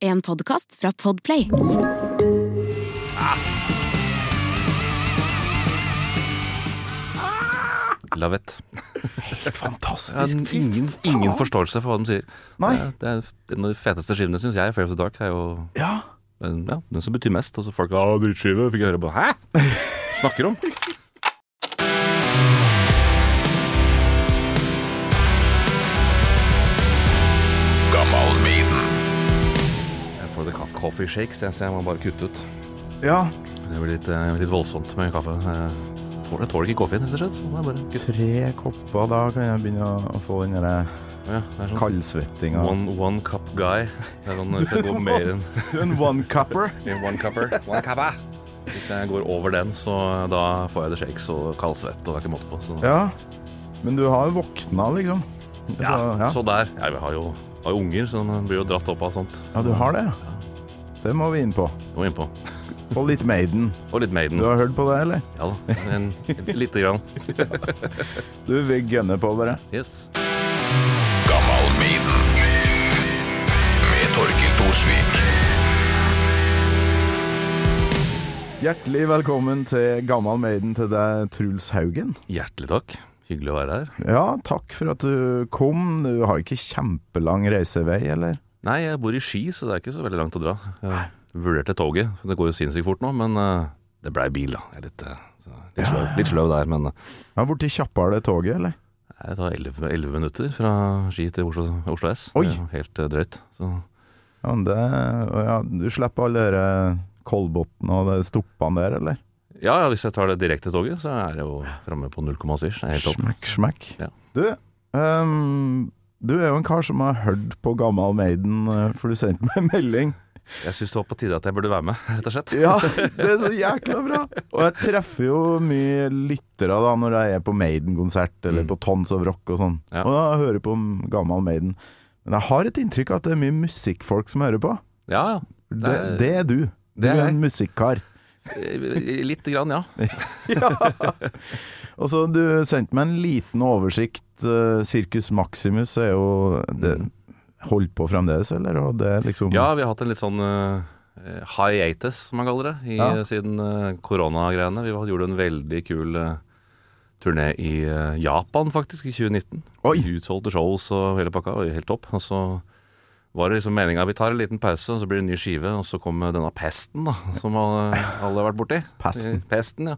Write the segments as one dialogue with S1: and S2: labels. S1: En podkast fra Podplay.
S2: Lavett.
S3: Helt
S2: Jeg
S3: fantastisk.
S2: har
S3: Fy
S2: ingen,
S3: faen.
S2: ingen forståelse for hva de sier.
S3: Nei.
S2: Det er- Det er en av de feteste skivene, syns jeg. Fair of the Dark er jo
S3: Ja.
S2: men, ja, den som betyr mest. Og så folk «Å, drittskive, fikk jeg høre på. Hæ?! Snakker om? Jeg får det kaffe, coffee shakes, jeg, så jeg må bare kutte ut.
S3: ja.
S2: Det blir litt, eh, litt voldsomt med kaffe. Jeg tåler, jeg tåler ikke koffein, rett og slett. Så må jeg bare kutte.
S3: Tre kopper, da kan jeg begynne å- å få den derre
S2: Ja, det er sånn
S3: kaldsvettinga.
S2: one, one cup guy. Det er sånn, hvis jeg går mer enn
S3: Du er en one cupper.
S2: In One cupper. One cuppa. Hvis jeg går over den, så da får jeg det shakes og kald svett. Og det er ikke måte på. Så,
S3: Ja. Men du har jo våkna, liksom. Så,
S2: ja,
S3: ja.
S2: så der. Jeg har jo, har jo unger, så de blir jo dratt opp av sånt.
S3: ja, du har det. ja. Det må vi inn på.
S2: Og innpå.
S3: Og litt Maiden.
S2: Og litt Maiden.
S3: Du har hørt på det, eller?
S2: Ja da. En, lite grann.
S3: Du, vi gunner på, bare.
S2: Yes.
S3: Hjertelig velkommen til Gammal Maiden til deg, Truls Haugen.
S2: Hjertelig takk. Hyggelig å være her.
S3: Ja, takk for at du kom. Du har ikke kjempelang reisevei, eller?
S2: Nei, jeg bor i Ski, så det er ikke så veldig langt å dra. Jeg Vurderte toget. for Det går jo sinnssykt fort nå, men eh, det blei bil, da. Jeg er litt, eh, så litt, sløv, litt sløv der, men eh,
S3: Jeg har blitt kjappere det toget, eller?
S2: Det tar 11, 11 minutter fra Ski til Oslo, Oslo S.
S3: Oi.
S2: Det er jo helt eh, drøyt. Så
S3: Ja, men det, og ja, du slipper alle dere Kolbotn og de stoppene der, eller?
S2: Ja, ja, hvis jeg tar det direkte toget, så er jeg jo framme på 0,7. Det er helt topp.
S3: Smekk, smekk.
S2: Ja.
S3: Du, ehm, du er jo en kar som har hørt på Gammal Maiden, eh, for du sendte meg en melding.
S2: Jeg syns det var på tide at jeg burde være med, rett og slett.
S3: Ja, det er så jækla bra! Og jeg treffer jo mye lyttere da når jeg er på Maiden-konsert eller
S2: Mm.
S3: på Tons of Rock og sånn.
S2: Ja.
S3: Og da hører jeg på Gammal Maiden. Men jeg har et inntrykk av at det er mye musikkfolk som hører på.
S2: Ja, ja.
S3: Det,
S2: Det er-
S3: det er du. Du
S2: det er
S3: er
S2: jeg.
S3: en musikkar.
S2: Eh, Lite grann, ja.
S3: Og så Du sendte meg en liten oversikt. eh, Circus Maximus er jo det, Holdt på fremdeles, eller? Og det er liksom
S2: Mm. Ja, vi har hatt en litt sånn eh, hiatus, som man kaller det, i,
S3: Ja.
S2: siden eh, koronagreiene. Vi var- gjorde en veldig kul eh, turné i eh, Japan, faktisk, i 2019.
S3: Oi!
S2: Utsolgte shows og hele pakka. Og helt topp. Og så var det liksom meninga vi tar en liten pause, og så blir det en ny skive. Og så kom eh, denne pesten, da, som alle, alle har vært borti.
S3: Pesten.
S2: Eh, Pesten, ja.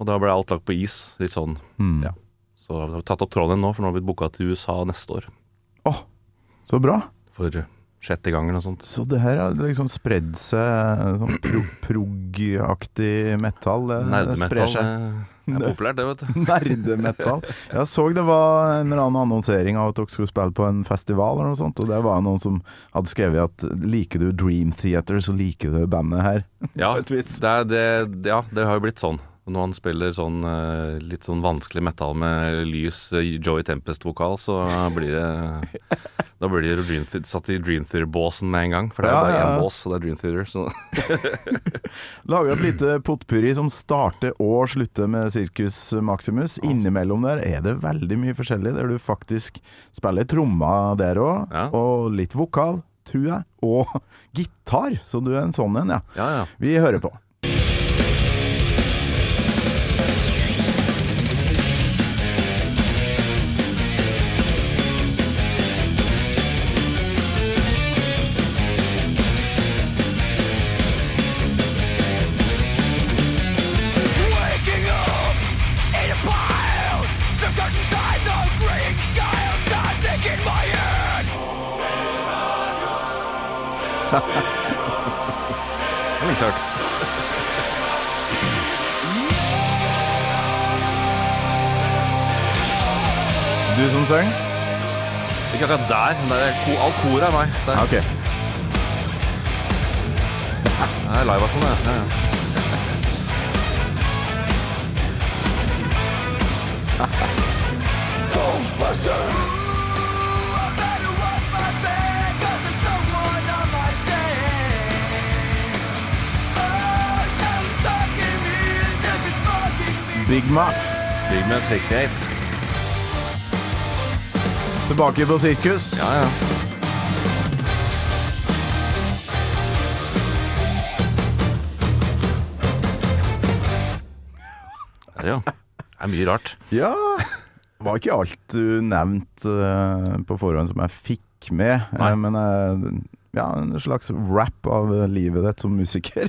S2: Og da ble alt lagt på is. Litt sånn.
S3: Mm.
S2: Ja. Så har vi tatt opp tråden igjen nå, for nå har vi booka til USA neste år.
S3: Åh, så bra!
S2: For sjette gangen og sånt.
S3: Så det her har liksom spredd seg eh, sånn pro prog-aktig metall. det- Det sprer
S2: Nerdemetall
S3: seg.
S2: eh, er populært, det, vet du.
S3: Nerdemetall. Jeg så det var en eller annen annonsering av at dere skulle spille på en festival eller noe sånt, og der var det noen som hadde skrevet at liker du Dream Theater, så liker du bandet her.
S2: Ja,
S3: På et
S2: det,
S3: vis.
S2: er, det, ja, det har jo blitt sånn. Når han spiller sånn eh, litt sånn vanskelig metal med lys eh, Joey Tempest-vokal, så blir det Da blir det Dream Theater, satt i Dream Theater-båsen med en gang. For det er
S3: Ja,
S2: jo bare
S3: ja, ja.
S2: én bås, og det er Dream Theater. Så.
S3: Lager et lite potpurri som starter og slutter med Sirkus Maximus. Innimellom der er det veldig mye forskjellig, der du faktisk spiller tromma der òg,
S2: Ja.
S3: og litt vokal, tror jeg, og gitar. Så du er en sånn en, ja.
S2: Ja, ja.
S3: Vi hører på.
S4: Waking up in a pile The dark inside the green sky of static in my head
S3: Du som synger?
S2: Ikke akkurat der. men Der er ko, all koret er meg. Der.
S3: OK.
S2: Det er liveversjonen, det. Ja, ja.
S4: I better watch my back Cause there's someone on my tail Oh, something's stalking me as if it's fucking me
S3: Big Muff.
S2: Big Map 68.
S3: Tilbake på sirkus.
S2: Ja, ja. der, ja. Det er mye rart.
S3: Ja Var ikke alt du nevnte eh, på forhånd som jeg fikk med, eh,
S2: Nei.
S3: men eh, ja, en slags rap av eh, livet ditt som musiker.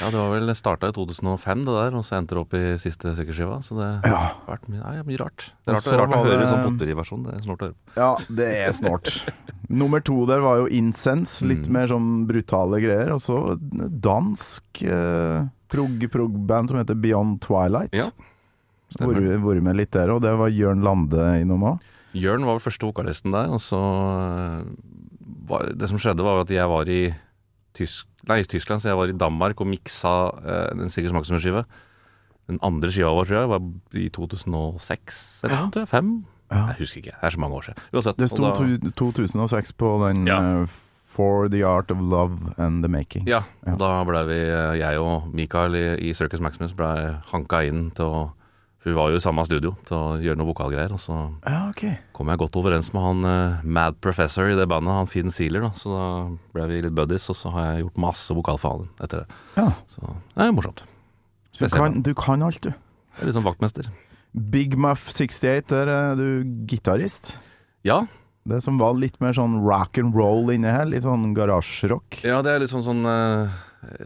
S2: Ja, Det var vel starta i 2005, det der, og så endte det opp i siste sykkelskiva. Så det har
S3: Ja,
S2: vært mye, nei, mye rart. Det er
S3: Og
S2: rart, det er
S3: så
S2: rart å
S3: var
S2: høre
S3: det-
S2: en sånn potpurri-versjon. Det er snort å høre. på.
S3: ja det er snålt. Nummer to der var jo Incense, litt
S2: Mm.
S3: mer sånn brutale greier. Og så dansk eh, prog-prog-band som heter Beyond Twilight.
S2: Ja,
S3: Hvor,
S2: stemmer.
S3: hvor med litt der, og det var Jørn Lande innom òg.
S2: Jørn var vel første vokalisten der, og så eh, var, Det som skjedde, var at jeg var i Tysk, nei, i Tyskland, så jeg var i Danmark og miksa eh, den Sigurd Smaksummer-skive. Den andre skiva vår, tror jeg, var i 2006 eller
S3: Ja.
S2: 2005?
S3: Ja.
S2: Jeg husker ikke, det er så mange år siden. Uansett. og
S3: Det sto
S2: da-
S3: to- 2006 på den
S2: Ja.
S3: eh, For the Art of Love and the Making.
S2: Ja,
S3: Ja.
S2: og da ble vi, eh, jeg og Mikael i, i Circus Maximus ble hanka inn til å For vi var jo i samme studio til å gjøre noen vokalgreier. Og så
S3: Ja, ok.
S2: kom jeg godt overens med han eh, Mad Professor i det bandet, han Finn Sealer, da. Så da ble vi litt buddies, og så har jeg gjort masse vokal for han etter det.
S3: Ja.
S2: Så det er morsomt.
S3: Du
S2: Spesielt.
S3: kan, du kan alt, du.
S2: Jeg er litt sånn vaktmester.
S3: Big Muff 68, der er du gitarist.
S2: Ja,
S3: Det som var litt mer sånn rock and roll inne her, litt sånn garasjerock.
S2: ja det er litt sånn, sånn eh,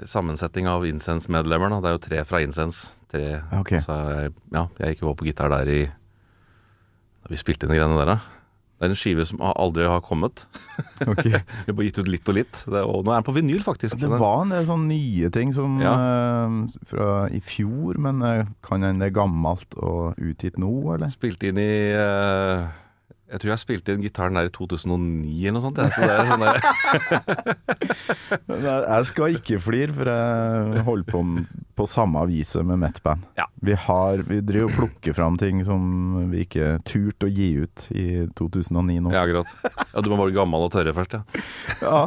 S2: sammensetning av Incense-medlemmer. da. Det er jo tre fra Incense. Tre.
S3: Ok.
S2: Så jeg, ja, jeg gikk jo på gitar der i Da vi spilte inn de greiene der, da. Det er en skive som aldri har kommet.
S3: ok.
S2: Vi har bare gitt ut litt og litt. Det, og nå er den på vinyl, faktisk.
S3: Det var en del sånne nye ting som eh, fra i fjor, men eh, kan hende det er gammelt og utgitt nå, eller?
S2: Spilte inn i eh, Jeg tror jeg spilte inn gitaren der i 2009 eller noe sånt. jeg. Så det er sånn der,
S3: Nei, Jeg skal ikke flire, for jeg holder på på samme viset med mettband.
S2: Ja.
S3: Vi, har, vi driver og plukker fram ting som vi ikke turte å gi ut i 2009 nå.
S2: ja, akkurat. Ja, du må være gammel og tørre først, ja.
S3: Ja.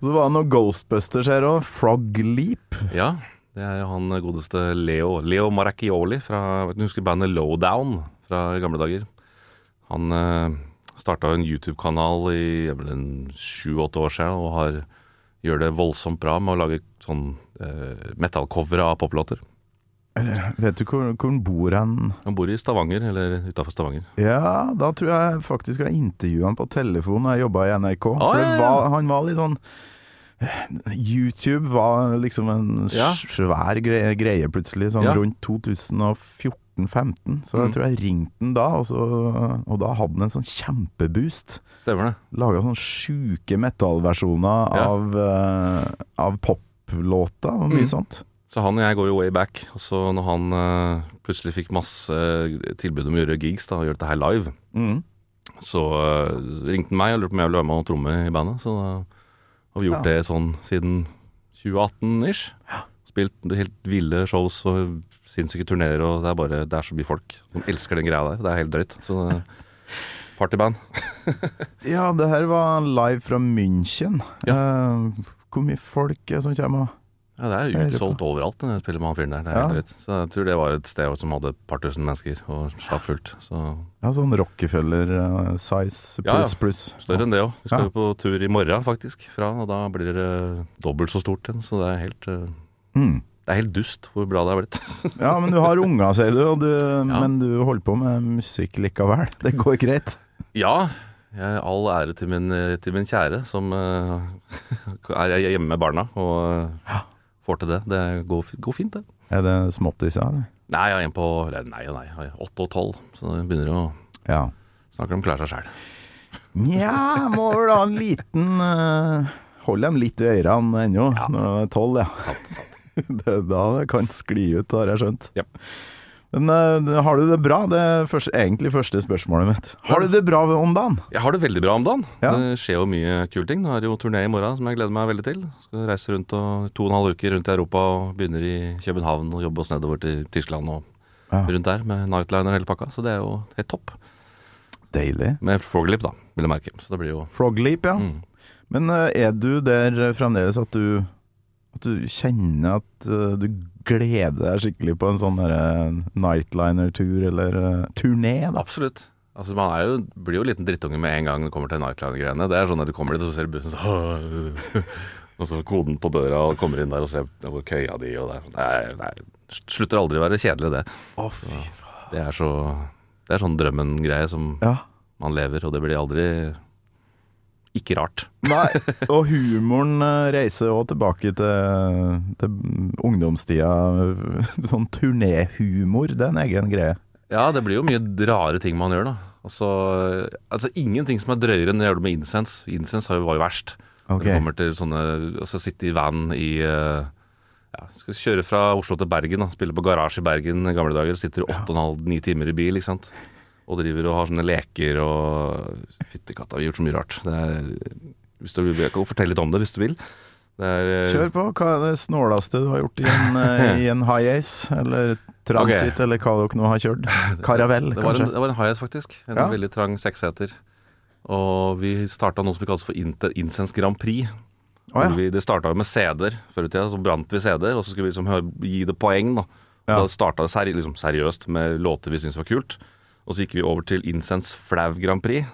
S3: Og så var det noe Ghostbusters her òg. Frog Leap.
S2: Ja, det er jo han godeste Leo Leo Maracchioli fra Du husker bandet Lowdown fra gamle dager? Han eh, starta jo en YouTube-kanal i jeg vel en sju-åtte år siden og har, gjør det voldsomt bra med å lage sånn eh, metallcovere av poplåter.
S3: Eller, vet du hvor, hvor han bor hen?
S2: Han bor i Stavanger, eller utafor Stavanger.
S3: Ja, da tror jeg faktisk jeg intervjua han på telefon da jeg jobba i NRK.
S2: Ah,
S3: for
S2: ja,
S3: det
S2: ja.
S3: var, han var litt sånn YouTube var liksom en
S2: Ja.
S3: svær greie, greie plutselig, sånn
S2: Ja.
S3: rundt 2014-15. Så
S2: Mm.
S3: jeg tror jeg ringte han da, og, så, og da hadde han en sånn kjempeboost.
S2: Stemmer det?
S3: Laga sånne sjuke metallversjoner
S2: Ja. Mm.
S3: av, eh, av poplåta og mye sånt.
S2: Så han og jeg går jo way back. Og så når han eh, plutselig fikk masse eh, tilbud om å gjøre gigs, da, og gjøre dette her live,
S3: Mm.
S2: så eh, ringte han meg og lurte på om jeg ville være med og tromme i bandet. Så da har vi gjort
S3: Ja.
S2: det sånn siden 2018-ish. Spilt helt ville shows og sinnssyke turneer, og det er bare det er så mye folk som elsker den greia der. Det er helt drøyt. Så det partyband.
S3: Ja, det her var live fra München. Eh, hvor mye folk er det som kommer?
S2: Ja, det er
S3: hører
S2: utsolgt overalt når jeg spiller med han fyren der. Det er helt
S3: Ja.
S2: drøyt. Så jeg tror det var et sted som hadde et par tusen mennesker, og stappfullt. Så
S3: Ja, sånn Rockefeller-size
S2: Ja, ja.
S3: pluss pluss.
S2: Større enn det òg. Vi skal
S3: Ja.
S2: jo på tur i morgen, faktisk. Fra, og da blir det eh, dobbelt så stort igjen. Så det er helt, eh,
S3: Mm.
S2: det er helt dust hvor bra det er blitt.
S3: Ja, men du har unger, sier du, og du men du holder på med musikk likevel. Det går greit.
S2: ja, jeg, all ære til min, eh, til min kjære, som eh, er hjemme med barna og eh, får til det. Det går, fi- går fint, det.
S3: Er det småttis, ja? eller?
S2: Nei, jeg har en på eller Nei og nei. jeg har Åtte og tolv. Så jeg begynner å
S3: Ja.
S2: snakke om å klare seg sjæl.
S3: Nja, må vel ha en liten uh, Hold dem litt i ørene ennå.
S2: Ja.
S3: Når de er tolv, ja.
S2: Sant, sant.
S3: Det er da det kan skli ut, har jeg skjønt.
S2: Ja.
S3: Men eh, har du det bra? Det er første, egentlig første spørsmålet mitt. Har du det bra om dagen?
S2: Jeg har det veldig bra om dagen.
S3: Ja.
S2: Det skjer jo mye kule ting. Nå er det jo turné i morgen som jeg gleder meg veldig til. Skal reise rundt og to og en halv uke rundt i Europa og begynner i København og jobbe oss nedover til Tyskland og
S3: Ja.
S2: rundt der med Nightliner og hele pakka. Så det er jo helt topp.
S3: Deilig.
S2: Med Froglip, da, vil jeg merke. Så det blir jo
S3: Frogleap, ja.
S2: mm.
S3: Men eh, er du der fremdeles at du At du kjenner at eh, du gleder deg skikkelig på en sånn der, eh, nightliner-tur eller eh, turné, da?
S2: Absolutt. Altså, Man er jo, blir jo en liten drittunge med en gang det kommer til Nightliner-greiene. Det er sånn at du kommer dit, og så ser du bussen sånn Og så koden på døra, og kommer inn der og ser på køya di, og det er, det er, det er Slutter aldri å være kjedelig, det.
S3: Å, fy faen.
S2: Det er, så, det er sånn drømmen-greie som
S3: Ja.
S2: man lever, og det blir aldri ikke rart.
S3: Nei, og humoren eh, reiser òg tilbake til, til ungdomstida. Sånn turnéhumor, det er en egen greie.
S2: Ja, det blir jo mye rare ting man gjør, da. Altså, altså ingenting som er drøyere enn det gjør det med incens. Incens har jo- var jo verst.
S3: Ok.
S2: Når det kommer til sånne Altså sitte i van i eh, ja, Skal kjøre fra Oslo til Bergen, da. Spille på garasje i Bergen i gamle dager. Sitter åtte og en halv, ni timer i bil, ikke sant. Og driver og har sånne leker og Fytti katta, vi har gjort så mye rart. Det er, hvis du vil, jeg kan fortelle litt om det hvis du vil. Det er, eh,
S3: Kjør på. Hva er det snålaste du har gjort i en, eh, i en high ace, eller transit,
S2: Ok.
S3: eller hva dere nå har kjørt? Karavell,
S2: Det var en,
S3: kanskje?
S2: det var en high-ass, faktisk. En
S3: Ja.
S2: veldig trang seksseter. Og vi starta noe som vi kalte for Inter- Incens Grand Prix.
S3: Å
S2: Hvor
S3: ja.
S2: vi, det starta med CD-er før i tida. Så brant vi CD-er, og så skulle vi liksom hø- gi det poeng. Da Og
S3: Ja.
S2: Da starta det seri liksom seriøst med låter vi syntes var kult. Og så gikk vi over til Incens Flau Grand Prix.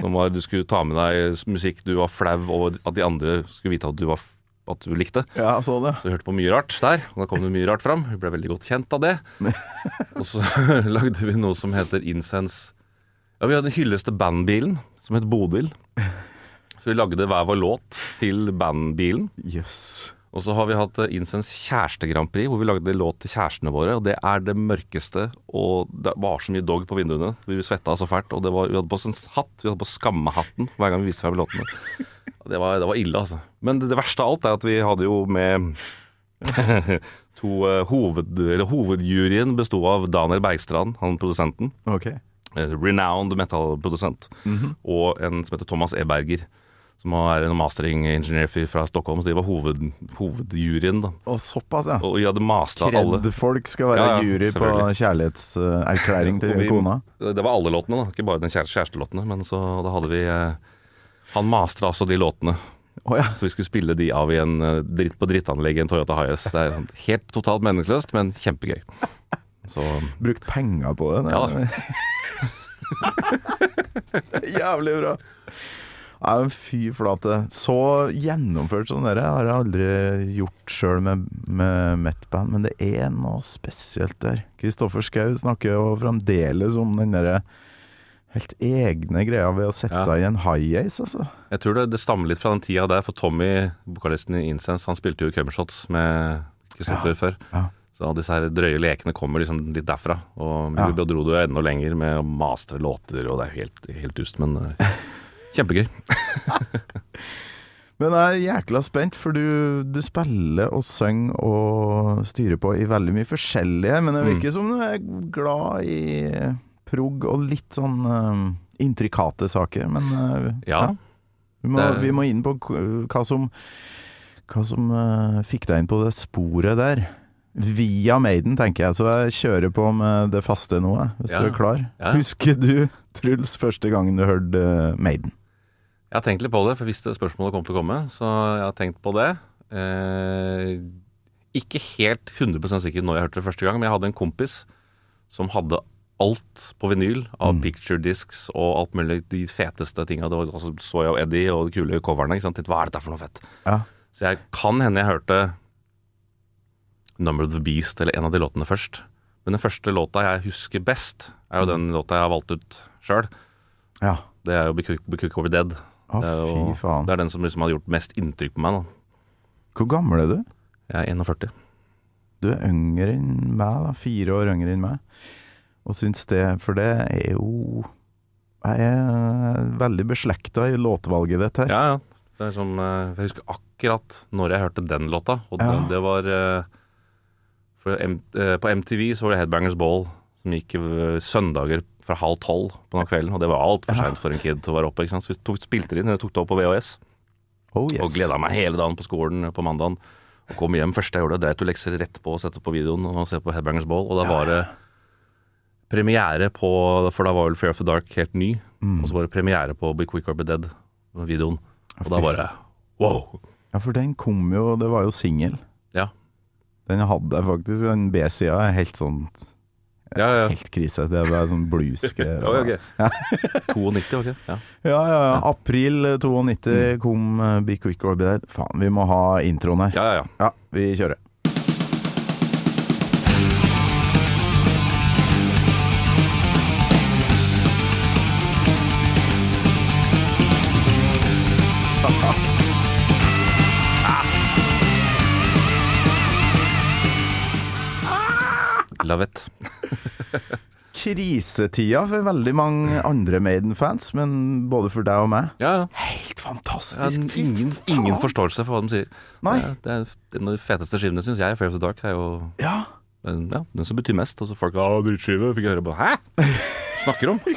S2: Som var du skulle ta med deg s- musikk du var flau over at de andre skulle vite at du, var, f- at du likte.
S3: ja, så det.
S2: Så vi hørte på mye rart der, og da kom det mye rart fram. Vi ble veldig godt kjent av det. Og så lagde vi noe som heter Incense Ja, vi hadde den hylleste bandbilen, som het Bodil. Så vi lagde hver vår låt til bandbilen.
S3: Jøss.
S2: Og så har vi hatt eh, Incense Kjæreste Grand Prix, hvor vi lagde låt til kjærestene våre. Og det er det mørkeste, og det var så mye dog på vinduene. Vi svetta så fælt. Og det var, vi hadde på oss en hatt. Vi hadde på oss skammehatten hver gang vi viste frem låtene. Det var, det var ille, altså. Men det, det verste av alt er at vi hadde jo med to eh, hoved, eller Hovedjuryen besto av Daniel Bergstrand, han produsenten.
S3: Ok.
S2: eh, Renowned metallprodusent.
S3: Mhm.
S2: Og en som heter Thomas Eberger. Som er en mastering-ingeniør fra Stockholm. Så de var hoved, hovedjuryen, da.
S3: Og såpass, ja.
S2: Og vi hadde masta alle.
S3: Kred-folk skal være
S2: Ja, ja,
S3: jury på
S2: selvfølgelig.
S3: kjærlighetserklæring
S2: Og
S3: til
S2: vi-
S3: kona.
S2: Det var alle låtene, da. Ikke bare den kjære- kjærestelåtene. Men så da hadde vi eh, Han mastra altså de låtene.
S3: Å ja.
S2: Så vi skulle spille de av i en eh, dritt på drittanlegg i en Toyota Hiace. Det er helt totalt meningsløst, men kjempegøy. Så um,
S3: Brukt penger på det.
S2: Ja da.
S3: Jævlig bra. Nei, men fy flate. Så gjennomført som dere har jeg aldri gjort sjøl med, med metal-band, men det er noe spesielt der. Kristoffer Schou snakker jo fremdeles om den derre helt egne greia ved å sette
S2: Ja.
S3: i en high ace, altså.
S2: Jeg tror det, det stammer litt fra den tida der, for Tommy, vokalisten i Incense, han spilte jo cumshots med Kristoffer før.
S3: Ja.
S2: Så disse her drøye lekene kommer liksom litt derfra. Og
S3: Ja.
S2: vi dro det jo enda lenger med å mastre låter, og det er jo helt, helt dust, men eh, kjempegøy.
S3: Men jeg er jækla spent, for du, du spiller og synger og styrer på i veldig mye forskjellig her, men det virker
S2: Mm.
S3: som du er glad i prog og litt sånn eh, intrikate saker. Men eh,
S2: Ja.
S3: vi, må,
S2: Det-
S3: vi må inn på k- hva som, hva som eh, fikk deg inn på det sporet der. Via Maiden, tenker jeg, så jeg kjører på med det faste nå, jeg, hvis
S2: Ja.
S3: du er klar.
S2: Ja.
S3: Husker du, Truls, første gangen du hørte eh, Maiden?
S2: Jeg har tenkt litt på det, for jeg visste spørsmålet kom til å komme. Så jeg har tenkt på det. Eh, ikke helt 100 sikker når jeg hørte det første gang, men jeg hadde en kompis som hadde alt på vinyl av picture discs og alt mulig de feteste tinga. Det var- altså, så jeg og Eddie og de kule coverne. Ikke sant? Tenkte, Hva er dette for noe fett?
S3: Ja.
S2: Så jeg kan hende jeg hørte Number of the Beast eller en av de låtene først. Men den første låta jeg husker best, er jo den låta jeg har valgt ut sjøl.
S3: Ja.
S2: Det er jo Be Quick, Be Quick Over Dead.
S3: Å,
S2: Det er, jo,
S3: fy faen.
S2: det er den som liksom har gjort mest inntrykk på meg. da
S3: Hvor gammel er du?
S2: Jeg er 41.
S3: Du er yngre enn meg, da. Fire år yngre enn meg. Og syns det For det er jo Jeg er veldig beslekta i låtvalget ditt her.
S2: Ja, ja. Det er som, eh, jeg husker akkurat når jeg hørte den låta. Og
S3: Ja.
S2: det, det var eh, for M, eh, På MTV så var det Headbangers Ball som gikk eh, søndager fra halv tolv på den kvelden. Og det var altfor seint for en kid til å være oppe. Ikke sant? Så vi tok, spilte det inn, jeg tok det opp på VHS.
S3: Oh, yes.
S2: Og gleda meg hele dagen på skolen på mandagen. Og kom hjem første jeg gjorde, dreit jo lekser rett på å sette på videoen og se på Headbangers Ball. Og da var det premiere på For da var vel Fear of the Dark helt ny.
S3: Mm.
S2: Og så var det premiere på Be Quick or Be Dead-videoen. Og da
S3: fy
S2: var det wow!
S3: Ja, for den kom jo Det var jo singel.
S2: Ja.
S3: Den hadde jeg faktisk. Den B-sida er helt sånn
S2: Ja, ja.
S3: Helt krise. Det er bare sånn blues-greier.
S2: Oi, ok. 92, ok. Ja.
S3: Ja, ja. ja. April eh, 92 kom eh, Be Quick or Be Dead. Faen, vi må ha introen her.
S2: ja, ja, ja.
S3: Ja, vi kjører.
S2: Love it.
S3: Krisetida for veldig mange andre Maiden-fans, men både for deg og meg.
S2: Ja, ja.
S3: Helt
S2: Ja,
S3: fantastisk.
S2: den-
S3: fy
S2: ingen,
S3: faen.
S2: ingen forståelse for hva de sier.
S3: Nei.
S2: Det er, det er den av de feteste skivene, syns jeg. Fair of the Dark er jo
S3: Ja.
S2: den, ja, den som betyr mest. Og så folk «Å, drittskive, fikk jeg høre på. Hæ?! Snakker om?
S3: Jeg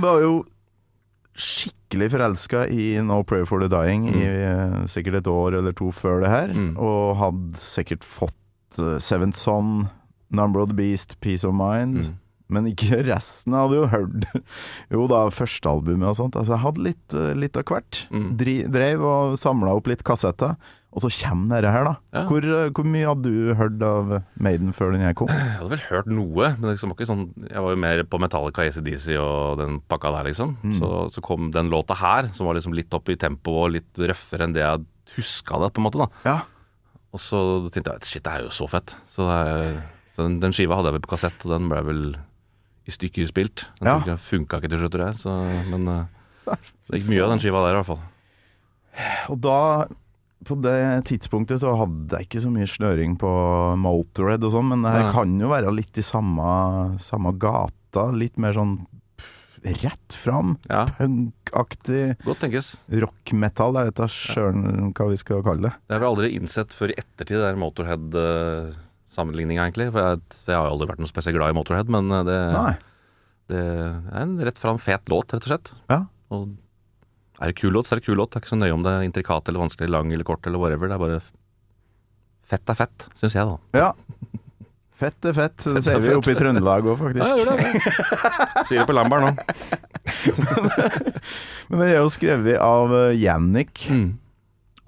S3: var jo skikkelig forelska i No Prayer for the Dying i eh, sikkert et år eller to før det her,
S2: Mm.
S3: og hadde sikkert fått eh, Seventh Son, Number of the Beast, Peace of Mind,
S2: Mm.
S3: men ikke resten. Jeg hadde jo hørt Jo da, førstealbumet og sånt. Altså, jeg hadde litt, eh, litt av hvert.
S2: Mm.
S3: Dri, dreiv og samla opp litt kassetter. Og så kommer dette her, da.
S2: Ja.
S3: Hvor, eh, hvor mye hadde du hørt av Maiden før den her kom?
S2: Jeg hadde vel hørt noe, men det liksom var ikke sånn Jeg var jo mer på Metallica, ACDC og den pakka der, liksom. Så, så kom den låta her, som var liksom litt opp i tempo og litt røffere enn det jeg huska det, på en måte. da
S3: Ja.
S2: Og så tenkte jeg shit, det er jo så fett. Så, det er- så den, den skiva hadde jeg vel på kassett, og den ble vel i stykker spilt. Den
S3: Ja.
S2: funka, funka ikke til slutt, det der, så, men eh, det gikk mye av den skiva der, i hvert fall.
S3: Og da, på det tidspunktet, så hadde jeg ikke så mye snøring på Motorhead og sånn, men det her
S2: Nei.
S3: kan jo være litt i samme, samme gata. Litt mer sånn pff, rett fram,
S2: Ja,
S3: punkaktig
S2: Godt tenkes.
S3: rockmetall. Jeg vet da sjøl hva vi skal kalle det.
S2: Det har jeg aldri innsett før i ettertid, det der Motorhead-sammenligninga, egentlig. For jeg, jeg har jo aldri vært noe spesielt glad i Motorhead, men eh, det,
S3: Nei.
S2: det er en rett fram fet låt, rett og slett.
S3: Ja.
S2: Og er det kul låt, så er det kul låt. Det er ikke så nøye om det er intrikat eller vanskelig, lang eller kort eller whatever. Det er bare Fett er fett, syns jeg, da.
S3: Ja. Fett er fett. Det sier vi oppe i Trøndelag òg, faktisk.
S2: Sier det på Lamberg nå.
S3: Men det er jo skrevet av eh, Yannick
S2: Mm.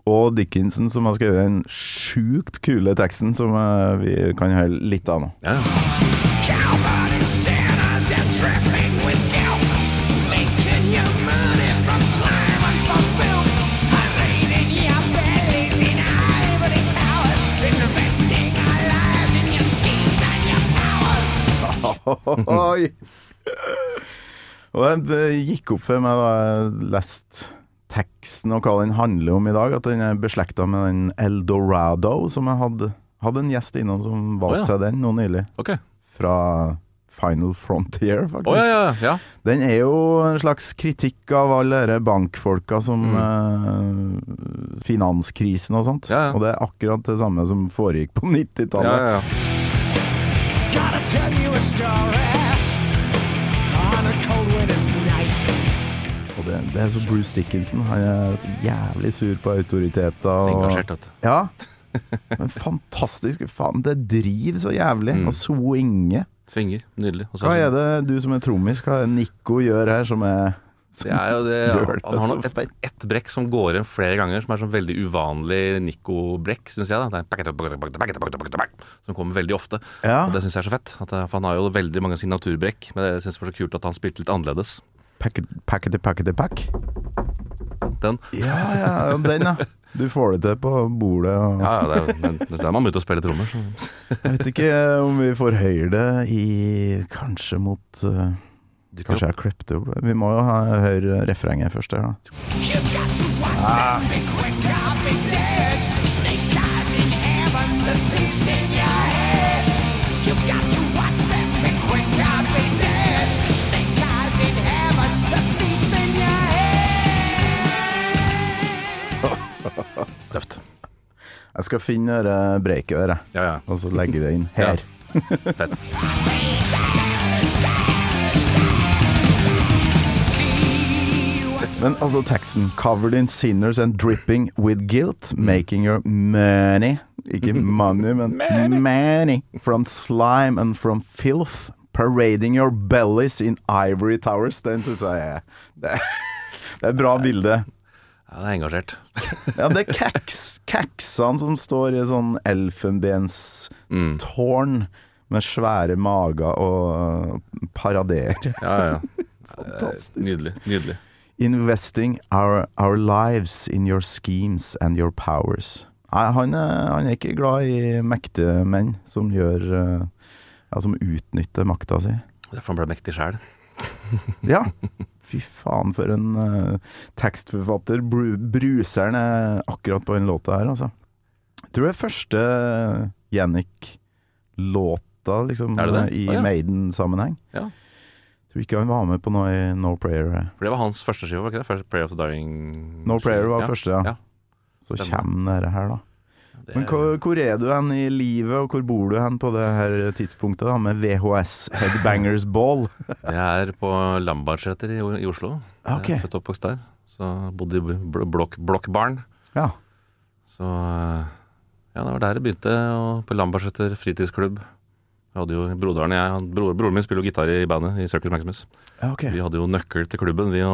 S3: og Dickinson, som har skrevet den sjukt kule teksten som eh, vi kan høre litt av nå.
S2: Ja, ja.
S5: Cowboys and sinners and dripping with guilt, making your money from slime and from filth. Hiding your bellies in ivory towers, investing our lives in your schemes and your powers.
S3: Oi! og det gikk opp for meg da jeg leste teksten og hva den handler om i dag, at den er beslekta med den Eldorado, som jeg hadde, hadde en gjest innom som
S2: Å,
S3: valgte
S2: ja.
S3: seg den nå nylig.
S2: Ok.
S3: Fra Final Frontier, faktisk.
S2: Å ja, ja, ja.
S3: Den er jo en slags kritikk av alle dere bankfolka som eh, Finanskrisen og sånt.
S2: Mm. Ja, ja.
S3: Og det er akkurat det samme som foregikk på
S2: ja,
S3: 90-tallet.
S2: ja, ja.
S5: Gotta tell you a story on a cold winter's night.
S3: Og det, det er så Bruce Dickinson. Han er så jævlig sur på autoriteter. Og,
S2: Engasjert, vet du.
S3: Ja. Men fantastisk. Faen, det driver så jævlig. Og swinge.
S2: Svinger. Nydelig. Og Mm. så
S3: Hva er det du som er trommis, hva er det Nico gjør her som er som
S2: Det er jo det altså,
S3: gjør det
S2: Han har
S3: så
S2: nok
S3: fett?
S2: et, et brekk som går igjen flere ganger, som er sånn veldig uvanlig Nico-brekk, syns jeg. da det er Som kommer veldig ofte.
S3: Ja.
S2: Og det syns jeg er så fett. At, det- for han har jo veldig mange signaturbrekk, men jeg syns det var så kult at han spilte litt annerledes.
S3: Packet, packety, packety, pack.
S2: Den.
S3: Ja, ja, den, ja. Du får det til på bordet. Og
S2: Ja, ja, det er, men, det er der man begynte å spille trommer. Så.
S3: jeg vet ikke om vi får høyere det i Kanskje mot eh,
S2: Du kan jo-
S3: Kanskje jeg har klippet det opp. Vi må jo ha høre refrenget først her, da.
S5: You've got to watch them be quick or be dead. Snake eyes in heaven, the thief's in your head. You've got to watch them be quick or be dead. Snake eyes in heaven, the thief in your head.
S2: Tøft.
S3: Jeg skal finne det breaket der, jeg.
S2: Ja, ja.
S3: og så legge det inn her.
S2: Ja. Fett.
S5: See what's
S3: Men altså teksten Covered in sinners and dripping with guilt Making your money Ikke money, men money From slime and from filth Parading your bellies in ivory towers Den synes jeg er Det er, det er et bra bilde
S2: Ja, det er engasjert.
S3: Ja, det er keks, keksene som står i sånn elfenbens tårn Med svære mager og eh, paraderer
S2: Ja, ja. Nydelig. Nydelig.
S3: Investing our, our lives in your schemes and your powers. Nei, han, er, han er ikke glad i mektige menn som gjør eh, Ja, som utnytter makta si.
S2: Derfor han ble mektig sjæl.
S3: Ja! Fy faen, for en eh, tekstforfatter. Bru, bruseren er akkurat på den låta her, altså. Jeg tror det er første Jannik låta, eh, liksom,
S2: Er det det?
S3: i
S2: Å, ja.
S3: Maiden-sammenheng.
S2: Ja.
S3: Tror ikke han var med på noe i No Prayer. eh.
S2: For det var hans første skive, var ikke det? First Prayer of the Dying
S3: No Prayer var første, ja.
S2: Ja.
S3: Så
S2: Stemmer.
S3: kommer dette her, da.
S2: Det-
S3: Men hvor, hvor er du hen i livet, og hvor bor du hen på det her tidspunktet da, med VHS Headbangers Ball?
S2: Jeg er på Lambertseter i, i Oslo.
S3: Ok.
S2: Jeg er født og Eh, oppvokst der. Så bodde i bl- blokk, blokkbarn.
S3: Ja.
S2: Så eh, ja, det var der det begynte, og på Lambertseter fritidsklubb. Jeg hadde jo, broderen og jeg, han- bro, Broren min spiller jo gitar i bandet i Circus Maximus.
S3: ja, ok.
S2: Vi hadde jo nøkkel til klubben. Vi jo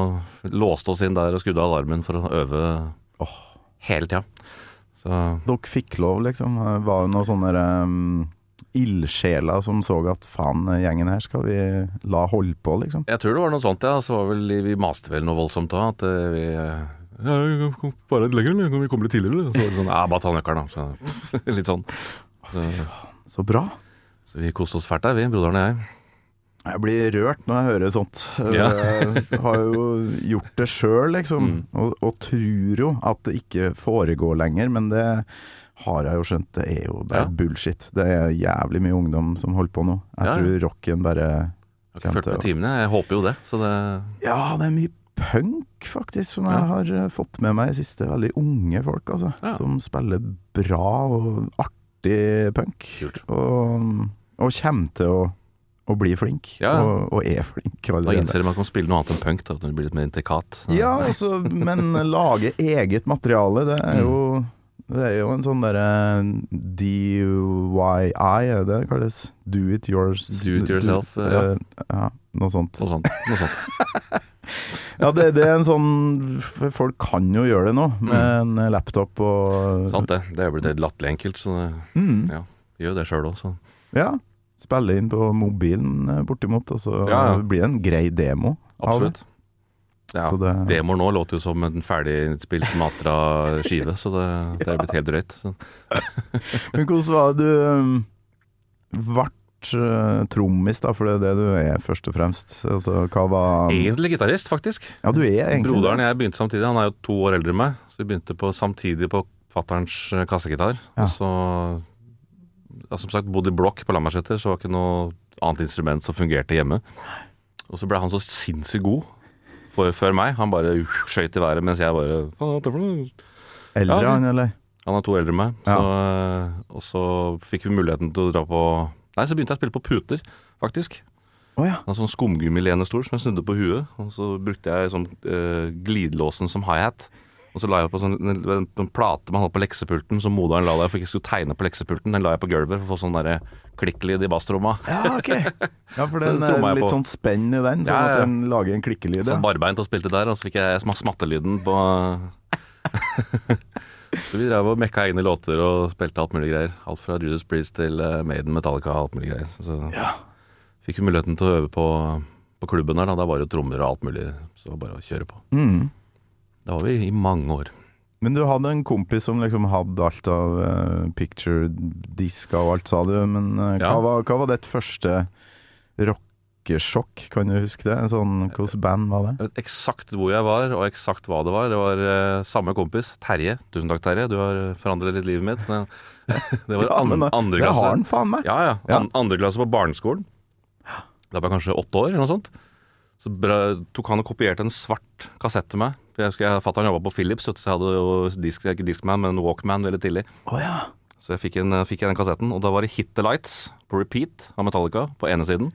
S2: låste oss inn der og skrudde av alarmen for å øve hele tida. Så
S3: Dere fikk lov, liksom. Var det noen sånne um, ildsjeler som så at faen, gjengen her skal vi la holde på, liksom?
S2: jeg tror det var noe sånt, ja. Så var vel, vi maste vel noe voldsomt da. At eh, vi eh, ja, vi kom bare litt lenger, eller? Kan vi komme litt tidligere? eller? Så var det sånn, ja, bare ta nøkkelen, da. Så, litt sånn. Så,
S3: Så bra.
S2: så vi koste oss fælt der, vi, broderen og jeg.
S3: Jeg blir rørt når jeg hører sånt.
S2: Ja. Mm.
S3: Jeg har jo gjort det sjøl, liksom. Og, og tror jo at det ikke foregår lenger, men det har jeg jo skjønt. Det er jo bare
S2: Ja.
S3: bullshit. Det er jævlig mye ungdom som holder på nå. Jeg
S2: Ja, ja.
S3: tror rocken bare
S2: Jeg har ikke fulgt med timene, jeg håper jo det. Så det
S3: Ja, det er mye punk, faktisk, som
S2: Ja.
S3: jeg har eh, fått med meg i siste. Veldig unge folk, altså.
S2: Ja.
S3: Som spiller bra og artig punk.
S2: Kult.
S3: Og, og kommer til å, å bli flink.
S2: Ja.
S3: Og, og er flink
S2: Da
S3: allerede.
S2: innser de at man kan spille noe annet enn punk, da, at det blir litt mer intrikat.
S3: Ja, altså, men lage eget materiale, det er jo
S2: Mm.
S3: Det er jo en sånn derre DIY, er det det kalles? Do it yours.
S2: Do it yourself, ja.
S3: eh, ja. Noe sånt.
S2: Noe sånt. Noe sånt.
S3: Ja, det, det er en sånn for Folk kan jo gjøre det nå, med
S2: Mm.
S3: en laptop og
S2: Sant det. Det er jo blitt helt latterlig enkelt, så det,
S3: Mm,
S2: Sånn. ja. Gjør jo det sjøl òg, så.
S3: ja. Spille inn på mobilen eh, bortimot, og så
S2: Ja, ja.
S3: blir det en grei demo. av det.
S2: Absolutt. Ja.
S3: Så det,
S2: Demoer nå låter jo som en ferdigspilt mastra skive, så det, det er blitt helt drøyt. Så.
S3: Men hvordan var det du um, vart eh, trommis, da? For det er det du er, først og fremst. Altså, hva var
S2: Egentlig gitarist, faktisk.
S3: Ja, du er egentlig
S2: Broderen
S3: det.
S2: og jeg begynte samtidig. Han er jo to år eldre enn meg, så vi begynte på, samtidig på fatterns eh, kassegitar.
S3: Ja.
S2: Og så ja, Som sagt, bodde i blokk på Lambertseter, så var ikke noe annet instrument som fungerte hjemme. Og så ble han så sinnssykt god for, før meg. Han bare skøyt i været mens jeg bare Faen, hva er dette for noe?
S3: Eldre,
S2: Ja.
S3: han, eller?
S2: Han er to eldre enn meg,
S3: Ja.
S2: så, eh, og så fikk vi muligheten til å dra på Nei, så begynte jeg å spille på puter, faktisk.
S3: Å ja.
S2: En sånn skumgummilenestol som jeg snudde på huet, og så brukte jeg sånn eh, glidelåsen som hi-hat. Og så la jeg på sånn, en, en, en plate man hadde på leksepulten, som moderen la der for ikke jeg skulle tegne på leksepulten. Den la jeg på gulvet for å få sånn derre klikklyd i basstromma.
S3: Ja, ok. Ja, for
S2: Så det
S3: den er
S2: trommer jeg
S3: litt
S2: på.
S3: sånn spenn i den, sånn
S2: Ja, ja.
S3: at den lager en klikkelyd.
S2: Sånn
S3: Ja.
S2: barbeint og spilte der, og så fikk jeg sma- smattelyden på Så vi drev og mekka egne låter og spilte alt mulig greier. Alt fra Judas Priest til eh, Maiden, Metallica, alt mulig greier. Så fikk vi muligheten til å øve på, på klubben her, da. Der var det jo trommer og alt mulig, så det var bare å kjøre på.
S3: Mm.
S2: Det var vi i mange år.
S3: Men du hadde en kompis som liksom hadde alt av eh, picture, diska og alt, sa du. Men eh,
S2: Ja.
S3: hva, var, hva var ditt første rockesjokk, kan du huske det? En sånn, Hvilket band var det?
S2: Jeg vet eksakt hvor jeg var, og eksakt hva det var. Det var eh, samme kompis, Terje. Tusen takk, Terje. Du har eh, forandret litt livet mitt. Men, det var an,
S3: men, eh,
S2: andre
S3: Det har
S2: klasse.
S3: han faen meg!
S2: Ja, ja.
S3: Ja.
S2: An andre klasse på barneskolen. Da var jeg kanskje åtte år, eller noe sånt. Så bra, tok han og kopierte en svart kassett til meg. For jeg husker jeg Fatter'n jobba på Philips, vet du, så jeg hadde jo disk, ikke Discman, men Walkman veldig tidlig.
S3: Å ja.
S2: Så jeg fikk, en, eh, fikk jeg den kassetten, og da var det Hit the Lights på repeat av Metallica på ene siden,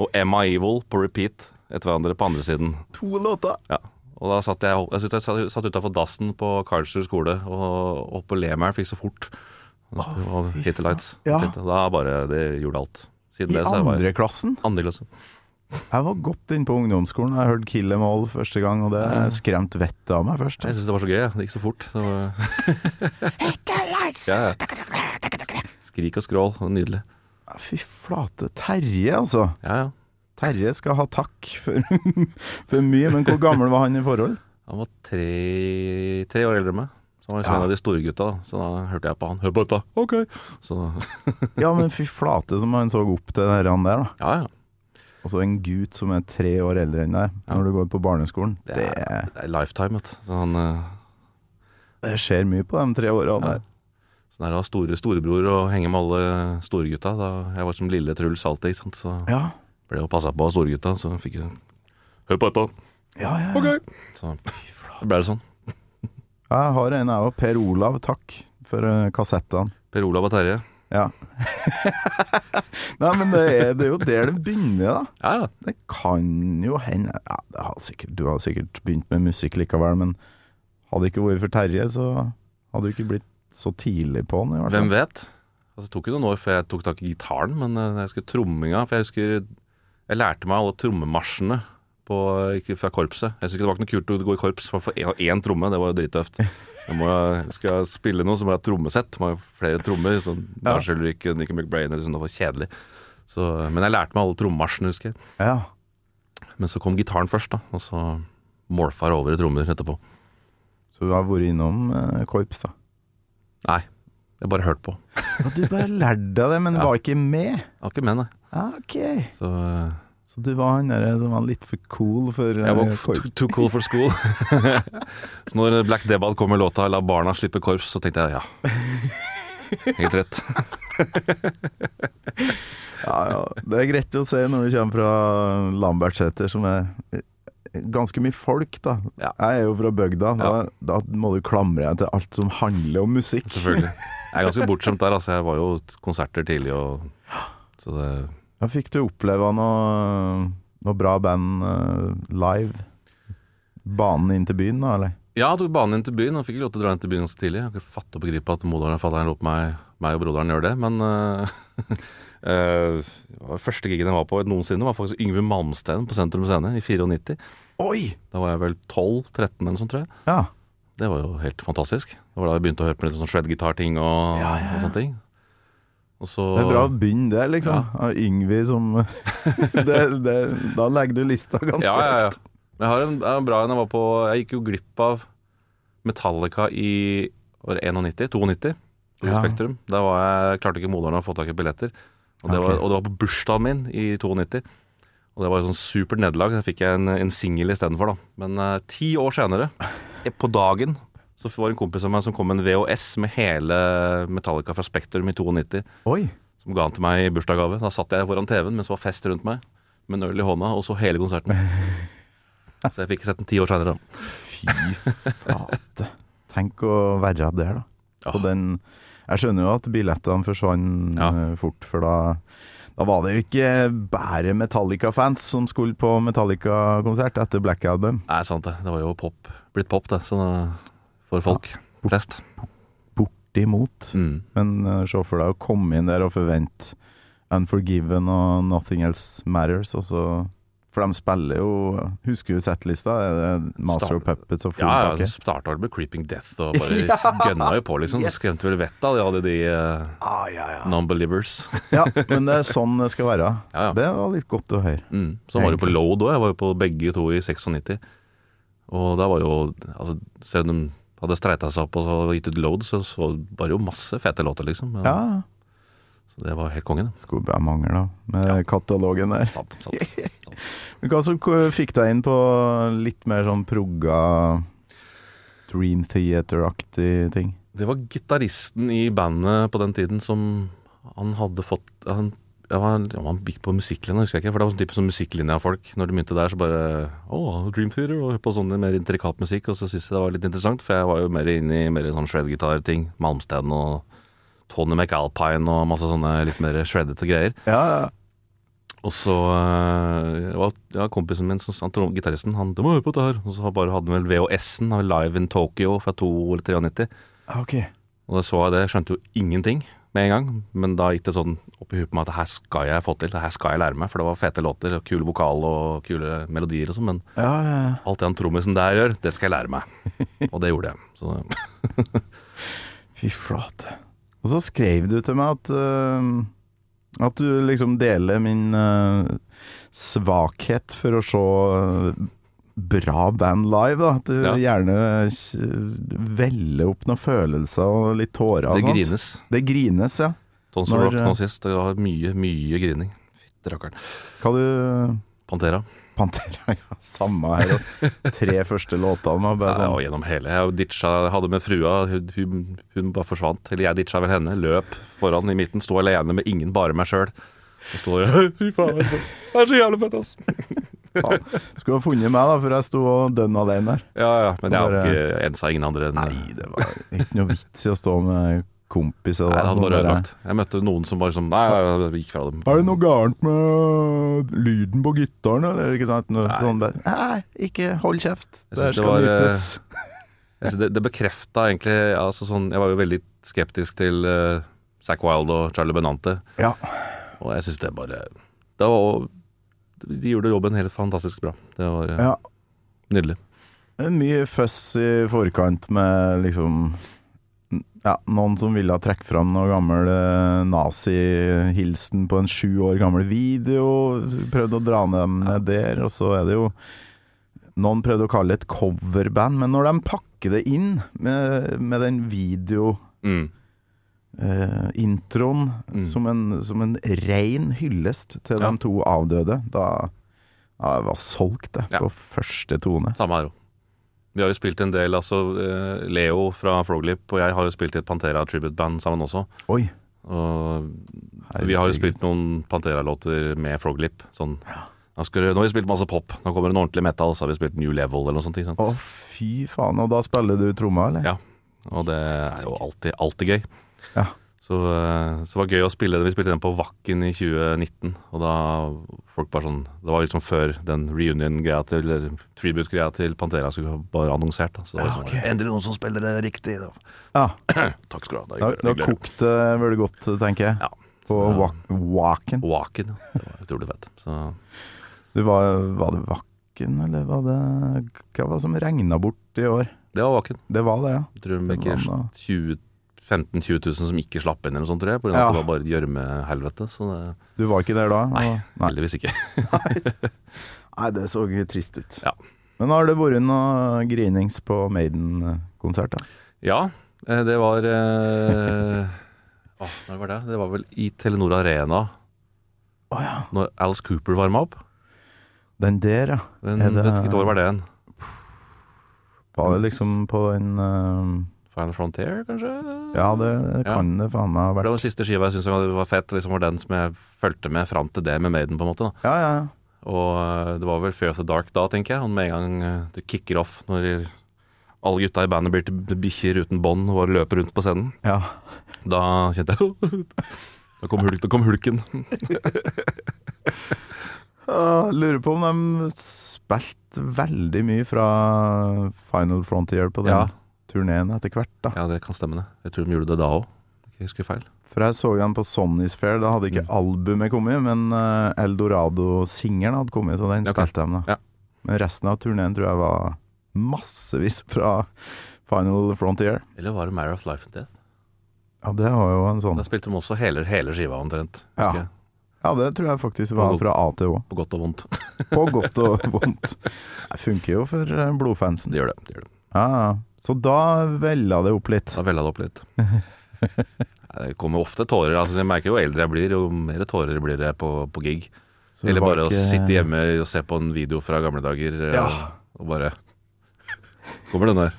S2: og Emma Evil på repeat etter hverandre på andre siden.
S3: To låter!
S2: Ja. Og da satt jeg, jeg, satt- jeg satt utafor dassen på Karlsrud skole og opp på Lemeren, for det gikk så fort. Og Hit the Lights.
S3: Ja.
S2: Da bare Det gjorde alt. Siden
S3: I
S2: det så er jeg bare
S3: andre klassen?
S2: andre klasse.
S3: Jeg var godt inne på ungdomsskolen. Jeg hørte Kill Em All første gang, og det skremte vettet av meg først.
S2: Jeg syntes det var så gøy. jeg. Det gikk så fort. Det var, ja, ja. Skrik og skrål. det var Nydelig.
S3: Fy flate. Terje, altså.
S2: Ja, ja.
S3: Terje skal ha takk for, for mye, men hvor gammel var han i forhold?
S2: Han var tre, tre år eldre enn meg. Så han var liksom
S3: Ja.
S2: en av de store gutta, da. Så da hørte jeg på han. Hør på dette! OK! Så
S3: Ja, men fy flate som han så opp til den herren der, da.
S2: ja, ja.
S3: Og så en gutt som er tre år eldre enn deg når du går på barneskolen.
S2: Det
S3: Det,
S2: er, det er lifetime, vet du. Så han eh,
S3: det skjer mye på de tre åra
S2: Ja.
S3: der.
S2: Så Så der var store, storebror og henge med alle storegutta. Da jeg var som lille Truls alltid, ikke sant? så
S3: Ja.
S2: ble jeg jo passa på av storegutta. Så fikk jeg Hør på dette!
S3: Ja, ja, ja.
S2: Så da ble det sånn.
S3: Jeg har en, jeg òg. Per Olav, takk for eh, kassettene.
S2: Per Olav og Terje.
S3: Ja. Nei, men det er, det er jo der det begynner, da.
S2: Ja, ja.
S3: Det kan jo hende ja, det har sikkert, Du har sikkert begynt med musikk likevel, men hadde det ikke vært for Terje, så hadde du ikke blitt så tidlig på han, i hvert
S2: Hvem
S3: fall.
S2: vet? Altså, det tok jo noen år før jeg tok tak i gitaren, men eh, jeg husker tromminga. For jeg husker jeg lærte meg alle trommemarsjene på, ikke fra korpset. Jeg syns ikke det var ikke noe kult å gå i korps for å få én- én tromme, det var jo drittøft. Jeg må, skal jeg spille noe, så må jeg ha et trommesett. Må jeg ha flere trommer. Så da skjønner du ikke Nicky McBrain eller sånn, det var kjedelig. Så, men jeg lærte meg alle trommemarsjene, husker jeg.
S3: Ja.
S2: Men så kom gitaren først, da. Og så morfa det over i trommer etterpå.
S3: Så du har vært innom eh, korps, da.
S2: Nei, jeg bare hørte på.
S3: Ja, du bare lærte deg det, men
S2: Ja.
S3: var ikke med.
S2: Jeg var ikke med, nei.
S3: Ja, ok.
S2: Så eh,
S3: Så du var han der som var litt for cool for eh,
S2: Jeg var
S3: korps?
S2: too, too cool for school. så når Black Debad kom med låta 'La barna slippe korps', så tenkte jeg ja. Helt rett.
S3: Ja, ja. Det er greit å se når du kommer fra Lambertseter, som er eh, ganske mye folk, da.
S2: Ja.
S3: Jeg er jo fra bygda. Da,
S2: Ja.
S3: da må du klamre deg til alt som handler om musikk.
S2: Selvfølgelig. Jeg er ganske bortskjemt der. Altså, jeg var jo til konserter tidlig og Så det
S3: Ja, fikk du oppleve noe, noe bra band eh, live? Banen inn til byen, da, eller?
S2: Ja, jeg tok banen inn til byen. Og fikk ikke lov til å dra inn til byen ganske tidlig. Jeg har ikke fatta og begripa at moderen og fatteren lot meg, meg og broderen gjøre det, men eh, eh, det var første gigen jeg var på noensinne, var faktisk Yngve Malmsten på Sentrum Scene i 94.
S3: Oi!
S2: Da var jeg vel 12-13 eller noe sånt, tror jeg.
S3: Ja.
S2: Det var jo helt fantastisk. Det var da jeg begynte å høre på litt sånn shred-gitar-ting og,
S3: Ja, ja, ja.
S2: og sånne ting. Og så
S3: Det er bra å begynne der, liksom. Av Yngvi som det, det, Da legger du lista ganske
S2: ja, ja, ja.
S3: høyt.
S2: Men Jeg har en, jeg har en bra en jeg var på Jeg gikk jo glipp av Metallica i var det 91, 92. på
S3: Ja.
S2: Spektrum. Da var jeg, klarte ikke moderen å få tak i billetter. Og det,
S3: Ok.
S2: var, og det var på bursdagen min i 92. Og det var jo sånn supert nederlag. Da fikk jeg en, en singel istedenfor, da. Men eh, ti år senere, eh, på dagen, så var det en kompis av meg som kom med en VHS med hele Metallica fra Spektrum i 92.
S3: Oi!
S2: som ga han til meg i bursdagsgave. Da satt jeg foran TV-en mens det var fest rundt meg, med en øl i hånda, og så hele konserten. Så jeg fikk sett den ti år seinere.
S3: Fy flate. Tenk å være der, da.
S2: Ja.
S3: På den Jeg skjønner jo at billettene forsvant
S2: Ja.
S3: eh, fort, for da da var det jo ikke bare Metallica-fans som skulle på Metallica-konsert etter Black Album.
S2: Nei, sant det. Det var jo pop. Blitt pop, det. Så det, for folk flest.
S3: Bortimot.
S2: Mm.
S3: Men eh, se for deg å komme inn der og forvente Unforgiven og Nothing Else Matters, og så For de spiller jo Husker du settlista? Er det Master of
S2: Star-
S3: Puppets og full
S2: Ja, ja.
S3: pakke?
S2: Starta vel med Creeping Death og bare gønna jo på, liksom.
S3: Yes.
S2: Skremte vel vettet av de, alle de eh,
S3: Ah, ja, ja.
S2: non-believers.
S3: ja, men det er sånn det skal være.
S2: Ja, ja.
S3: Det var litt godt å høre.
S2: Mm. Så var det på
S3: Egentlig.
S2: Load òg. Jeg var jo på begge to i 96. Og da var jo altså, Selv om de hadde streita seg opp og så gitt ut Load, så, så var det jo masse fete låter, liksom. Men-
S3: Ja,
S2: Så det var helt konge, det.
S3: Skulle bare mangle, da, med katalogen der.
S2: Sant, sant.
S3: Men Hva som k- fikk deg inn på litt mer sånn progga Dream Theater-aktig ting?
S2: Det var gitaristen i bandet på den tiden som han hadde fått han, ja, han, ja, han gikk på musikklinja, husker jeg ikke. For det var sånn type sånn musikklinja av folk. Når de begynte der, så bare Å, Dream Theater, og hørte på sånn mer intrikat musikk. Og så syntes jeg det var litt interessant, for jeg var jo mer inne i mer sånn shred-gitar-ting. Malmsten og Tony McAlpine og masse sånne litt mer shreddete greier.
S3: Ja,
S2: Og så eh, var ja, kompisen min, som, han, trom- gitaristen, han Du må høre på dette her. Og så bare hadde han vel VHS-en av Live in Tokyo fra 2 eller 93.
S3: ok.
S2: Og da så jeg det, skjønte jo ingenting med en gang. Men da gikk det sånn opp i huet på meg at det her skal jeg få til, det her skal jeg lære meg. For det var fete låter, og kule vokal og kule melodier og sånn. Men
S3: Ja, ja.
S2: alt det han trommisen der gjør, det skal jeg lære meg. Og det gjorde jeg. Så
S3: Fy flate. Og så skrev du til meg at øh, At du liksom deler min øh, svakhet for å se øh, bra band live. da At du
S2: Ja.
S3: gjerne øh, veller opp noen følelser og litt tårer. og
S2: det
S3: sånt.
S2: grines.
S3: Det grines, ja.
S2: Sånn som
S3: Når,
S2: rock nå sist. Det var mye, mye grining. Fytti rakkeren.
S3: Hva du
S2: Pantera.
S3: Pantera, ja, samme her. Altså. Tre første låtene var bare
S2: Ja,
S3: sånn
S2: og gjennom hele. Jeg ditcha, hadde med frua, hun, hun, hun bare forsvant. Eller jeg ditcha vel henne. Løp foran i midten, sto alene med ingen, bare meg sjøl. Og sto der Fy faen, det er så jævlig fett, ass.
S3: ja, Skulle ha funnet meg, da, for jeg sto og dønn alene der.
S2: Ja, ja, men jeg
S3: Bare-
S2: hadde ikke ensa ingen andre enn
S3: Nei, det var ikke noe vits i å stå med kompiser.
S2: Nei,
S3: da,
S2: det hadde
S3: som
S2: bare
S3: bare-
S2: ødelagt. Jeg møtte noen som bare sånn Nei, jeg jeg gikk fra dem.
S3: Er det noe gærent med lyden på gitaren, eller? Ikke sant? Noe sånn bare, Nei, ikke hold kjeft.
S2: Jeg
S3: Det her
S2: synes det
S3: skal
S2: var, eh,
S3: nytes.
S2: Jeg synes Altså, det, det bekrefta egentlig altså sånn, Jeg var jo veldig skeptisk til eh, Zack Wilde og Charlie Benante.
S3: Ja.
S2: Og jeg syns det bare det var, De gjorde jobben helt fantastisk bra. Det var eh,
S3: ja.
S2: nydelig.
S3: Mye føss i forkant med liksom ja, noen som ville trekke fram noe gammel eh, nazihilsen på en sju år gammel video. Prøvde å dra dem ned der, og så er det jo Noen prøvde å kalle det et coverband, men når de pakker det inn med, med den video
S2: Mm.
S3: eh, introen
S2: Mm.
S3: som, en, som en ren hyllest til
S2: Ja.
S3: de to avdøde. Da, da jeg var solgt jeg,
S2: Ja.
S3: på første tone.
S2: Samme her òg. Vi har jo spilt en del, altså eh, Leo fra Froglip og jeg har jo spilt i et Pantera tribute-band sammen også.
S3: Oi,
S2: Og så vi har jo spilt noen Pantera-låter med Froglip. Sånn. Nå, skal, du- nå har vi spilt masse pop. Nå kommer det en ordentlig metal, så har vi spilt New Level eller noe sånt. Ikke sant?
S3: Å, fy faen. Og da spiller du tromma, eller?
S2: Ja, og det er jo alltid, alltid gøy.
S3: Ja.
S2: Så, eh, så det var gøy å spille den. Vi spilte den på Vakken i 2019, og da folk bare sånn Det var liksom før den reunion-greia til Eller tribute-greia til Pantera skulle bare annonsert. Da. Så det var liksom, Endelig noen som spiller det riktig! Da.
S3: Ja,
S2: Takk skal du ha.
S3: Da, da kokte det vel godt, tenker jeg.
S2: Ja.
S3: På
S2: Så- Oh.
S3: Wak- Waken.
S2: Waken. ja. Det var utrolig fett. Så
S3: Du var, var det Waken, eller var det Hva var det som regna bort i år?
S2: det var Waken.
S3: Det var det, ja.
S2: Jeg tror
S3: Det
S2: det
S3: var
S2: ikke
S3: da.
S2: 20 15 000-20 000 som ikke slapp inn, eller noe sånt, tror jeg. På grunn av
S3: Ja.
S2: at det var bare et gjørmehelvete. Så det,
S3: Du var ikke der da?
S2: nei,
S3: og- nei.
S2: heldigvis ikke.
S3: Nei, det så trist ut.
S2: Ja.
S3: Men har det vært noe grinings på Maiden-konsert, da?
S2: Ja, eh, det var eh, åh, Når var det? Det var vel i Telenor Arena
S3: Å ja.
S2: når Alice Cooper varma opp.
S3: Den der, ja.
S2: Men
S3: Er det-
S2: vet ikke hvilket år var det en.
S3: Var det liksom på en eh,
S2: Final Frontier, kanskje?
S3: Ja, det kan det faen meg ha
S2: For
S3: vært.
S2: Det var den siste skiva jeg syntes var fett. Liksom var den som jeg fulgte med fram til det med Maiden, på en måte. Da.
S3: Ja, ja.
S2: Og eh, det var vel Fear of the Dark da, tenker jeg. Og med en gang eh, det kicker off når de- alle gutta i bandet blir til bikkjer uten bånd og bare løper rundt på scenen.
S3: ja.
S2: Da kjente jeg Da kom, hulk, da kom hulken.
S3: Jeg lurer på om de spilte veldig mye fra Final Frontier på den
S2: Ja.
S3: turneen etter hvert, da.
S2: Ja, det kan stemme, det. Jeg tror de gjorde det da òg. Jeg husker feil.
S3: For jeg så dem på Sonny's Fair, da hadde
S2: Mm.
S3: ikke albumet kommet, men eh, Eldorado-singelen hadde kommet, så den
S2: Ok.
S3: spilte de da.
S2: Ja.
S3: Men resten av turneen tror jeg var massevis fra Final Frontier.
S2: Eller var det Marrow of Life and Death?
S3: Ja, det var jo en sånn
S2: Da spilte de også hele, hele skiva omtrent.
S3: Ja.
S2: Ikke?
S3: Ja, det tror jeg faktisk var fra A til Å.
S2: På godt og vondt.
S3: På godt og vondt. Det funker jo for eh, blodfansen.
S2: Det gjør det. det, gjør det.
S3: Ja, ja. Så da vella det opp litt.
S2: Da vella det opp litt. Nei, Det kommer ofte tårer. Altså, jeg merker jo eldre jeg blir, jo mer tårer blir det på, på gig.
S3: Så det
S2: Eller
S3: var
S2: bare
S3: ikke-
S2: å sitte hjemme og se på en video fra gamle dager eh,
S3: Ja.
S2: og bare Kommer den der.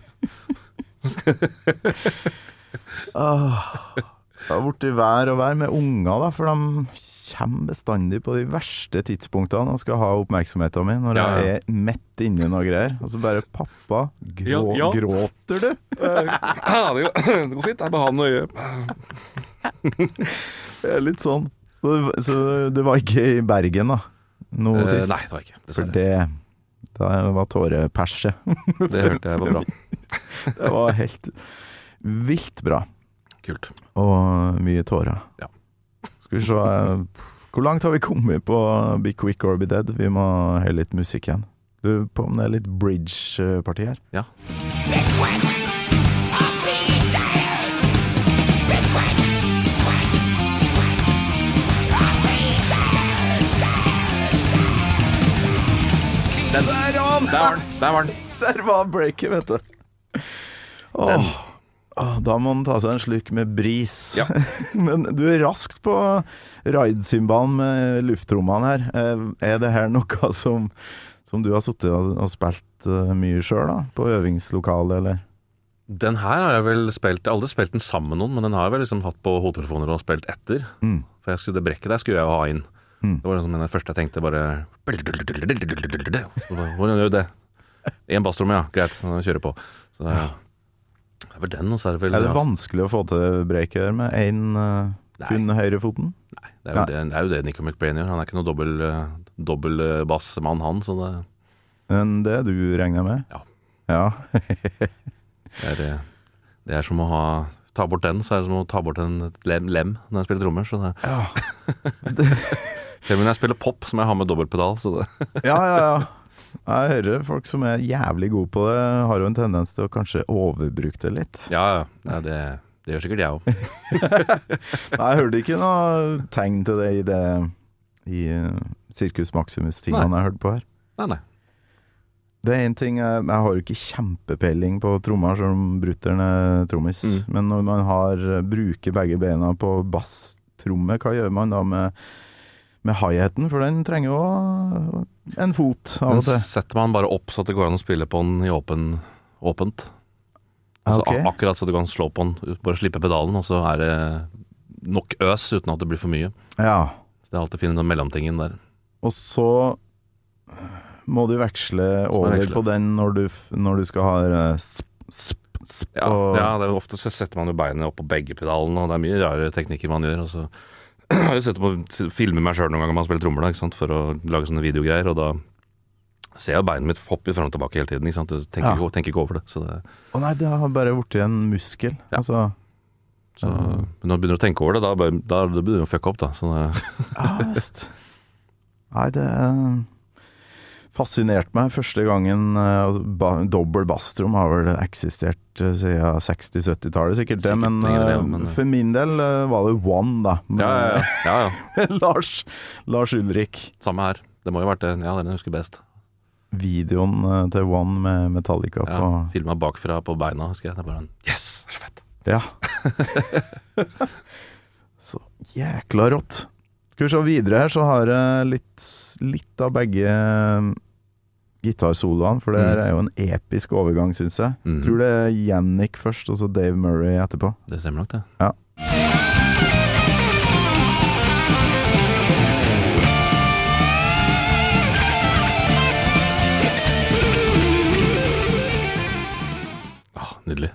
S3: Det har blitt vær og vær med unger, da, for de kommer bestandig på de verste tidspunktene og skal ha oppmerksomheten min når
S2: Ja, ja.
S3: jeg er midt inni noe greier. Og så bare 'Pappa, grå,
S2: Ja, ja.
S3: gråter du?'
S2: det, går fint. Det er bare han og øyet.
S3: Det er litt sånn. Så, så du var ikke i Bergen, da, nå
S2: Eh, Nei,
S3: sist?
S2: det var jeg ikke.
S3: For
S2: Dessverre.
S3: det Da var tåreperset.
S2: Det, hørte jeg var bra.
S3: Det var helt vilt bra.
S2: Kult.
S3: Og mye tårer.
S2: Ja.
S3: Skal vi se eh, Hvor langt har vi kommet på Be Quick or Be Dead? Vi må høre litt musikk igjen. Lurer på om det er litt bridge-parti her.
S2: Ja. Den, der var den! Der var den.
S3: Der var breaket, vet du. Åh. Åh, Da må han ta seg en slurk med bris.
S2: Ja.
S3: Men du er raskt på ride-cymbalen med luftrommene her. Eh, Er det her noe som, Som du har sittet og, og spilt eh, mye sjøl, da? På øvingslokalet, eller?
S2: Den her har jeg vel spilt Jeg har aldri spilt den sammen med noen, men den har jeg vel liksom hatt på hodetelefoner og spilt etter.
S3: Mm.
S2: For jeg skulle, det brekket der skulle jeg jo ha inn.
S3: Mm.
S2: Det var liksom det første jeg tenkte, bare Hvordan gjør du det? Én basstromme, ja. Greit, kjøre på. Så det er, det er vel den, og så er det vel
S3: Er det
S2: altså,
S3: vanskelig å få til breaket der med én uh, kun høyrefoten?
S2: det, er jo det, det er jo det Nico McBrain gjør. Han er ikke noen dobbel, eh, dobbel eh, bassmann, han. Så det,
S3: Men det du regner med?
S2: Ja.
S3: Ja.
S2: det, er, eh, det er som å ha Ta bort den, så er det som å ta bort en et lem, lem når jeg spiller trommer. Så det,
S3: Ja.
S2: selv om jeg spiller pop, så må jeg ha med dobbeltpedal. Så det,
S3: ja, ja, ja. Jeg hører folk som er jævlig gode på det, har jo en tendens til å kanskje overbruke det litt.
S2: ja, ja. Nei, Det, det gjør sikkert jeg òg.
S3: Nei, jeg hørte ikke noe tegn til det i det I eh, Sirkus Maximus-tingene jeg hørte på her.
S2: Nei, nei.
S3: Det er en ting Jeg, jeg har jo ikke kjempepeiling på trommer, selv om brutter'n er trommis.
S2: Mm.
S3: Men når man har, eh, bruker begge beina på basstromme, hva gjør man da med, med high-haten? For den trenger jo en fot av
S2: Den
S3: og til.
S2: setter man bare opp så at det går an å spille på den i åpen, åpent. Altså,
S3: Ah, Ok.
S2: ak- Akkurat så du kan slå på den, bare slippe pedalen, og så er det nok øs uten at det blir for mye.
S3: Ja.
S2: Så det er alltid å finne den mellomtingen der.
S3: Og så eh, må du veksle over
S2: veksle.
S3: på den når du, f- når du skal ha eh, sp, sp, sp,
S2: Ja,
S3: og,
S2: ja det er jo ofte så setter man jo beinet opp på begge pedalene, og det er mye rare teknikker man gjør. Og så jeg har jo sett på filmer meg sjøl noen ganger man spiller trommer, da, ikke sant, for å lage sånne videogreier, og da ser jeg jo beinet mitt hoppe fram og tilbake hele tiden, ikke sant. Jeg tenker,
S3: Ja.
S2: ikke, tenker ikke over det. Så, det,
S3: Å nei, det har bare blitt en muskel.
S2: Ja.
S3: Altså,
S2: så men når du begynner å tenke over det, da, bare, da begynner du å fucke opp, da. Sånn, eh, Så det,
S3: ja visst. Nei, det eh, fascinerte meg første gangen eh, altså, ba, Dobbel basstrom har vel eksistert eh, siden 60-70-tallet, sikkert det.
S2: Sikkert
S3: Men,
S2: lenger, ja,
S3: eh,
S2: men-
S3: for min del eh, var det one, da.
S2: Ja, ja, ja. ja, ja.
S3: Lars, Lars Ulrik.
S2: Samme her. Det må jo ha vært det. Ja, den jeg husker best.
S3: Videoen eh, til One med Metallica
S2: Ja,
S3: på
S2: Filma bakfra på beina, husker jeg. Det er bare en Yes! Det er så fett.
S3: Ja. så jækla rått. Skal vi se videre her, så har jeg litt, litt av begge eh, gitarsoloene, for det
S2: Mm.
S3: her er jo en episk overgang, syns jeg.
S2: Mhm.
S3: Tror det er Yannick først, og så Dave Murray etterpå.
S2: Det stemmer nok, det. Ah, nydelig.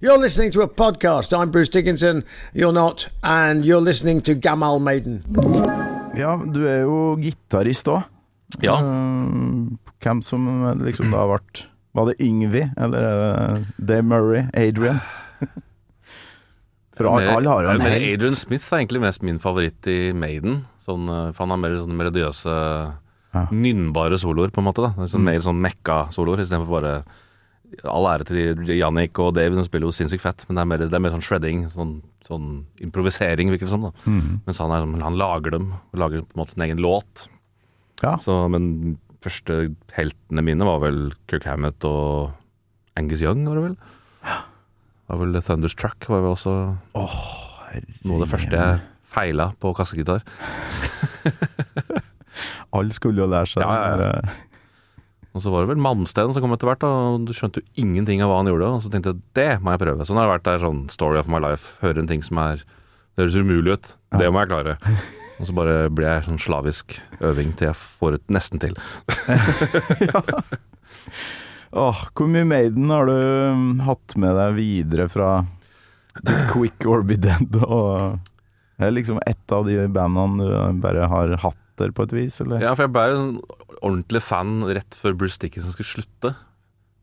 S6: You're listening to a podcast. I'm Bruce Dickinson. You're not. And you're listening to Gamal Maiden.
S3: Ja, du er jo gitarist òg.
S2: Ja.
S3: Hvem som liksom da ble Var det Yngvi, eller er det Dave Murray? Adrian? For
S2: Mer-
S3: alle har jo en
S2: mer
S3: helt.
S2: Adrian Smith er egentlig mest min favoritt i Maiden. Sånn, eh, for han har mer sånne melodiøse,
S3: Ja. Mm.
S2: nynnbare soloer, på en måte. da Det er sånn, Mer sånn mekka-soloer, istedenfor bare All ære til de- Jannik og David, de spiller jo sinnssykt fett, men det er mer, det er mer sånn shredding, sånn, sånn improvisering, virker det som. da
S3: Mm.
S2: Mens han, er, sånn- han lager dem, og lager på en måte en egen låt.
S3: Ja.
S2: Så, men første heltene mine var vel Kirk Hammett og Angus Young, var det vel? Var vel Thunderstruck var vel også noe av det første jeg feila på kassegitar.
S3: Alle skulle jo lære seg eh,
S2: Ja, ja, ja.
S3: det.
S2: Og så var det vel Malmsten som kom etter hvert, da, og du skjønte jo ingenting av hva han gjorde. Og så tenkte jeg det må jeg prøve. Sånn har det vært der, sånn story of my life. Hører en ting som er Det høres umulig ut. Det må jeg klare. Og så bare blir jeg sånn slavisk øving til jeg får et nesten til.
S3: Åh, hvor mye Maiden har du mm, hatt med deg videre fra The Quick or Be Dead? Og det er liksom ett av de bandene du uh, bare har hatt der på et vis, eller?
S2: Ja, for jeg ble en ordentlig fan rett før Bruce Dickinson skulle slutte.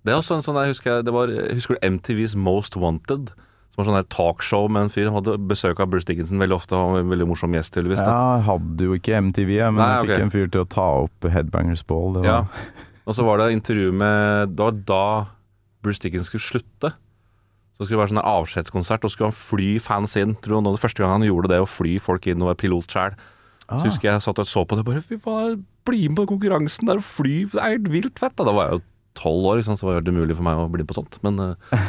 S2: Det er også en sånn jeg husker, jeg- det var, jeg husker du MTVs Most Wanted? Som var sånn der talkshow med en fyr. Han hadde besøk av Bruce Dickinson veldig ofte, og han var en veldig morsom gjest, tydeligvis. da.
S3: jeg hadde jo ikke MTV, jeg, men
S2: Nei,
S3: jeg fikk
S2: ok.
S3: en fyr til å ta opp Headbangers Ball. Det var,
S2: Ja. Og så var det intervju med Det var da Bruce Dickens skulle slutte. Så skulle det være sånn der avskjedskonsert, og så skulle han fly fans inn. Tror du, nå, det første gang han gjorde det, å fly folk inn og være pilot sjæl.
S3: Ah.
S2: Så husker jeg satt og så på det bare Fy faen, bli med på konkurransen der og fly! Det er helt vilt fett! Da, da var jeg jo tolv år, ikke sant, så var det helt umulig for meg å bli med på sånt. Men eh,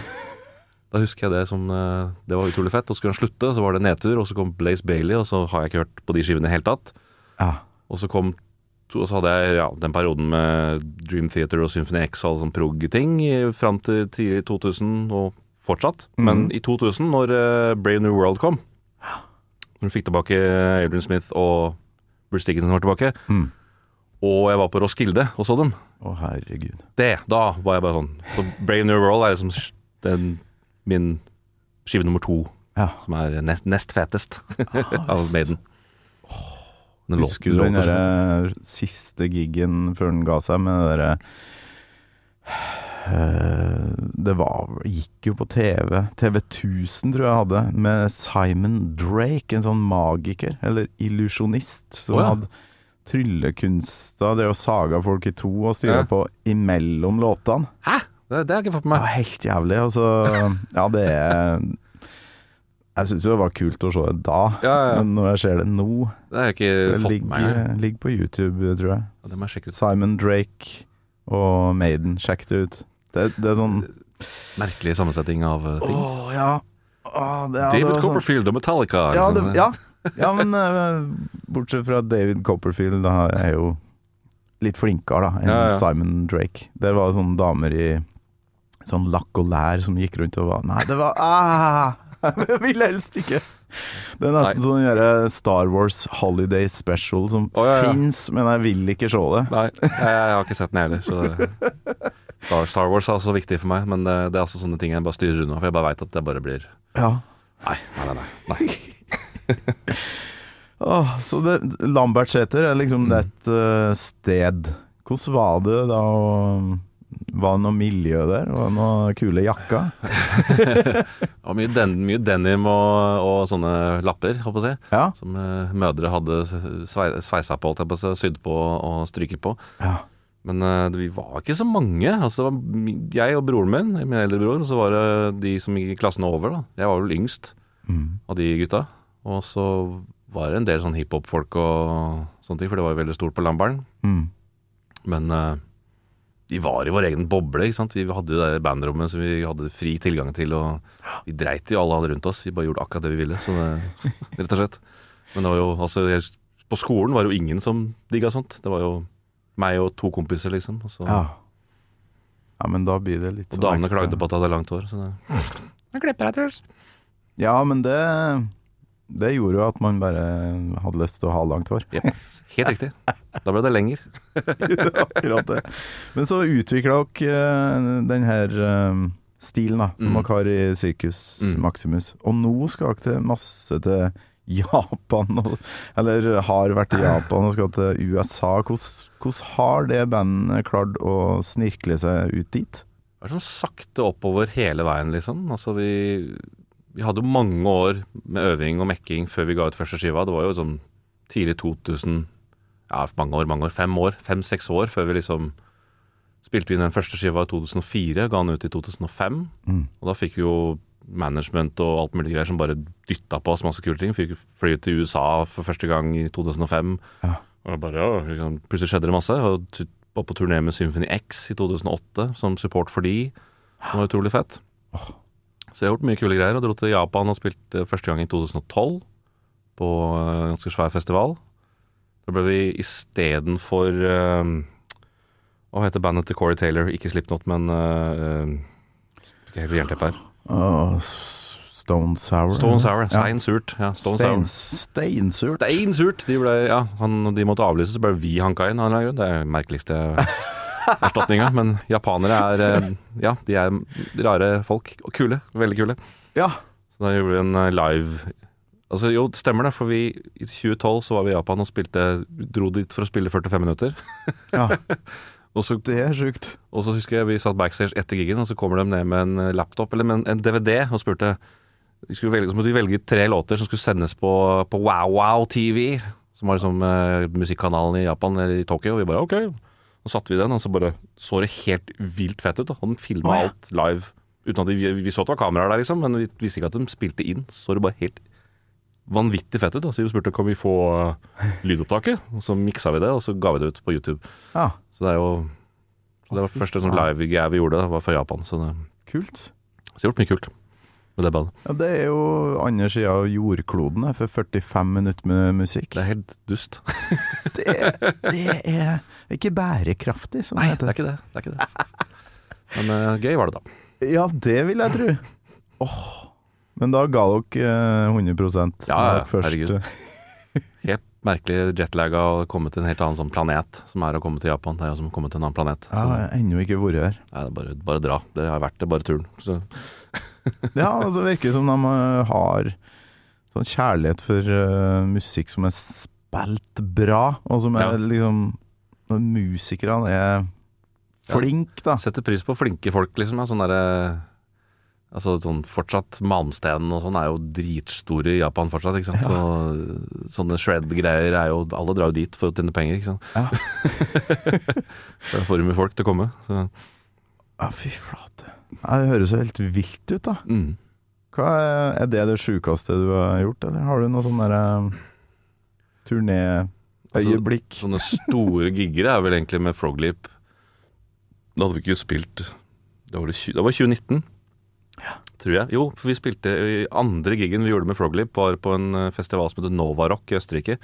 S2: da husker jeg det som eh, Det var utrolig fett. Og så skulle han slutte, så var det nedtur, og så kom Blaze Bailey, og så har jeg ikke hørt på de skivene i det hele tatt.
S3: Ja.
S2: Og så kom to, og så hadde jeg ja, den perioden med Dream Theater og Symphony X og alle sånne prog-ting i- fram til tidlig 2000 og fortsatt. Men
S3: Mhm.
S2: i 2000, når eh, Brave New World kom, når du fikk tilbake Adrian Smith og Bruce Dickinson var tilbake,
S3: Mhm.
S2: og jeg var på Roskilde og så dem,
S3: Å, herregud.
S2: det, da var jeg bare sånn. Så Brave New World er liksom sk- den, min skive nummer to,
S3: Ja.
S2: som er nest, nest fetest av Maiden. Den lå-
S3: Ah, Husker
S2: den
S3: du
S2: lå
S3: den eh,
S2: til slutt.
S3: derre siste gigen før den ga seg med det derre Eh, Det var gikk jo på TV. TV 1000 tror jeg hadde, med Simon Drake, en sånn magiker, eller illusjonist, som
S2: Å, ja.
S3: hadde tryllekunster, drev og saga folk i to og styra
S2: Ja.
S3: på imellom låtene.
S2: Hæ? Det, det har jeg ikke fått med meg.
S3: Det var helt jævlig. Og så Ja, det er Jeg syns jo det var kult å se det da,
S2: Ja, ja.
S3: men når jeg ser det nå
S2: Det har jeg ikke
S3: det
S2: fått med meg.
S3: ligger, ligger på YouTube, tror jeg.
S2: Ja, det må jeg sjekke ut.
S3: Simon Drake og Maiden, sjekk det ut. Det, det er sånn
S2: Merkelig sammensetning av eh, ting.
S3: Åh, ja. Åh, det, ja, det
S2: David
S3: var sånn.
S2: Copperfield og Metallica.
S3: Ja, det,
S2: liksom.
S3: ja. eh. ja, men eh, bortsett fra David Copperfield, da er jeg jo litt flinkere da enn
S2: Ja, ja.
S3: Simon Drake. Det var sånne damer i sånn lakk og lær som gikk rundt og var Nei, det var ah, Jeg ville helst ikke. Det er nesten
S2: Nei.
S3: sånn derre Star Wars Holiday Special som
S2: Å, ja, ja.
S3: fins, men jeg vil ikke se det.
S2: Nei, jeg, jeg har ikke sett den heller. Så Star, Star Wars er også viktig for meg, men eh, det, det er også sånne ting jeg bare styrer unna. For jeg bare veit at det bare blir
S3: Ja.
S2: Nei, nei, nei. nei, nei.
S3: Åh, så det, Lambertseter er
S2: Mm.
S3: liksom et eh, sted. Hvordan var det da å Var det noe miljø der? Var det noe kule jakker?
S2: Det var mye, den, mye denim og, og sånne lapper, håper jeg å si.
S3: Ja.
S2: Som eh, mødre hadde svei- sveisa på, holdt jeg på å si, sydd på og stryket på.
S3: Ja.
S2: Men eh, det- vi var ikke så mange. Altså, det var mi- jeg og broren min, min eldre bror, og så var det de som gikk i klassen over. da. Jeg var vel yngst av de gutta. Og så var det en del sånn hiphop-folk og sånne ting, for det var jo veldig stort på Lambertseter.
S3: Mm.
S2: Men eh, vi var i vår egen boble. ikke sant? Vi hadde jo det der bandrommet som vi hadde fri tilgang til, og vi dreit i alle alle rundt oss. Vi bare gjorde akkurat det vi ville, så det, rett og slett. Men det var jo, altså, jeg, på skolen var det jo ingen som digga sånt. Det var jo meg og to kompiser, liksom. Og, så,
S3: ja. Ja, men da blir det litt
S2: og
S3: sånn
S2: damene
S3: ekstra.
S2: klagde på at jeg hadde langt hår. Så det,
S3: Ja, men det Det gjorde jo at man bare hadde lyst til å ha langt hår.
S2: Jep. Helt riktig. Da ble det lenger.
S3: Akkurat det. Men så utvikla dere eh, den her eh, stilen da, som dere har i Sirkus
S2: Mm.
S3: Maximus. Og nå skal dere til masse til Japan, og, eller har vært i Japan og skal til USA. Hvordan hvordan har det bandet klart å snirkle seg ut dit?
S2: Det var sånn sakte oppover hele veien, liksom. Altså, vi, vi hadde jo mange år med øving og mekking før vi ga ut første skiva. Det var jo sånn tidlig 2000 Ja, mange år, mange år. Fem år. Fem-seks år før vi liksom spilte vi inn den første skiva i 2004. Ga den ut i 2005. Og da fikk vi jo management og alt mulig greier som bare dytta på oss masse kule ting. Fikk fly til USA for første gang i 2005. Og da bare, ja, liksom, plutselig skjedde det masse. Og tu- var på turné med Symphony X i 2008 som support for de. Det var utrolig fett. Så jeg har gjort mye kule greier. Og dro til Japan og spilte første gang i 2012 på eh, en ganske svær festival. Da ble vi istedenfor uh, Hva heter bandet til Corey Taylor? Ikke Slipknot, men eh, eh, Fikk jeg helt jernteppe her.
S3: Åh, s- Stone Sour?
S2: Stone Sour.
S3: Ja.
S2: Stein Surt. Ja, Stone
S3: Stein,
S2: Sour.
S3: Steinsurt?
S2: Steinsurt! De, ble, ja, han, de måtte avlyse, så ble vi hanka inn. av en eller annen grunn. Det er den merkeligste erstatninga. Men japanere er eh, Ja, de er rare folk. Og kule. Veldig kule.
S3: Ja.
S2: Så da gjorde vi en eh, live Altså Jo, det stemmer det, for vi i 2012 så var vi i Japan og spilte dro dit for å spille 45 minutter.
S3: ja.
S2: Og så,
S3: Det er sjukt.
S2: og så husker jeg vi satt backstage etter gigen, og så kommer de ned med en eh, laptop, eller med en, en DVD, og spurte vi skulle velge, Så måtte vi velge tre låter som skulle sendes på, på Wow Wow TV, som var liksom eh, musikkanalen i Japan, eller i Tokyo. Og vi bare OK. Og satte vi den, og så bare så det helt vilt fett ut. Da. Og den filma
S3: Å, ja.
S2: alt live. Uten at vi, vi så at det var kameraer der, liksom, men vi visste ikke at de spilte inn. Så det bare helt vanvittig fett ut. Da. Så vi spurte kan vi få eh, lydopptaket, og så miksa vi det, og så ga vi det ut på YouTube.
S3: Ja,
S2: Så det er jo så Det var første sånn live-greie vi gjorde, det var fra Japan. Så det
S3: kult.
S2: så jeg har gjort mye kult. med det bandet.
S3: Ja, det er jo andre sida av jordkloden, det, for 45 minutter med musikk.
S2: Det er helt dust.
S3: Det, er- det er ikke bærekraftig, som det
S2: Det
S3: heter.
S2: er ikke det. det, er ikke det. Men eh, gøy var det, da.
S3: Ja, det vil jeg tro. Men da ga dere eh, 100
S2: Ja, ja,
S3: dere først.
S2: herregud. Helt merkelig jetlag å komme til en helt annen sånn planet, som er å komme til Japan. Det er jo som å komme til en annen planet.
S3: Ja,
S2: Så,
S3: jeg har ennå ikke vært her.
S2: nei, det er bare, bare dra. Det har vært det, bare turen. Så,
S3: Ja, altså det virker som de eh, har sånn kjærlighet for eh, musikk som er spilt bra, og som er
S2: Ja.
S3: liksom når Musikerne er flinke, da.
S2: setter pris på flinke folk, liksom. Ja. Sånn derre Altså sånn fortsatt Malmstenen og sånn er jo dritstor i Japan fortsatt, ikke sant. Så, sånne shred-greier er jo Alle drar jo dit for å tjene penger, ikke sant.
S3: Ja.
S2: det er for mye folk til å komme. Så,
S3: Ja, fy flate. Ja, det høres jo helt vilt ut, da.
S2: mm.
S3: Hva er, er det det sjukeste du har gjort, eller har du noe sånn derre turnéøyeblikk?
S2: Sånne store gigger er vel egentlig med Froglip. Da hadde vi ikke spilt Det var, det tjue- det var 2019, tror jeg. Jo, for vi spilte i andre giggen vi gjorde med Froglip, var på en eh, festival som heter Nova Rock i Østerrike.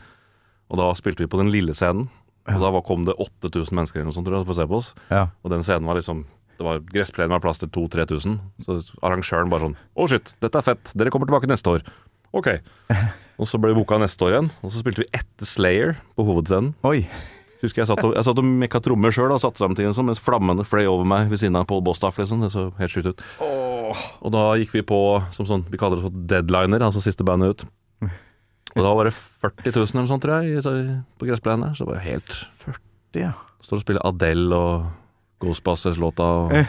S2: Og da spilte vi på den lille scenen. Og da var, kom det 8000 mennesker eller noe sånt, tror jeg, for å se på oss.
S3: Ja.
S2: Og den scenen var liksom Det var gressplenen var plass til 2000-3000. Så arrangøren bare sånn Å, shit, dette er fett. Dere kommer tilbake neste år. Ok. Og så ble vi booka neste år igjen. Og så spilte vi etter Slayer på hovedscenen.
S3: Oi.
S2: Så husker jeg satt og, jeg satt og mekka trommer sjøl og satte sammen ting og sånn, mens flammene fløy over meg ved siden av Pål Bostaff. Liksom. Det så helt sjukt ut. Og da gikk vi på som sånn, vi kaller det for deadliner, altså siste bandet ut. Og da var det 40 000 eller noe sånt, tror jeg, i- på gressplenen der. Så det var jo helt
S3: Det, ja.
S2: Står og spiller Adele og Ghostbusters-låta og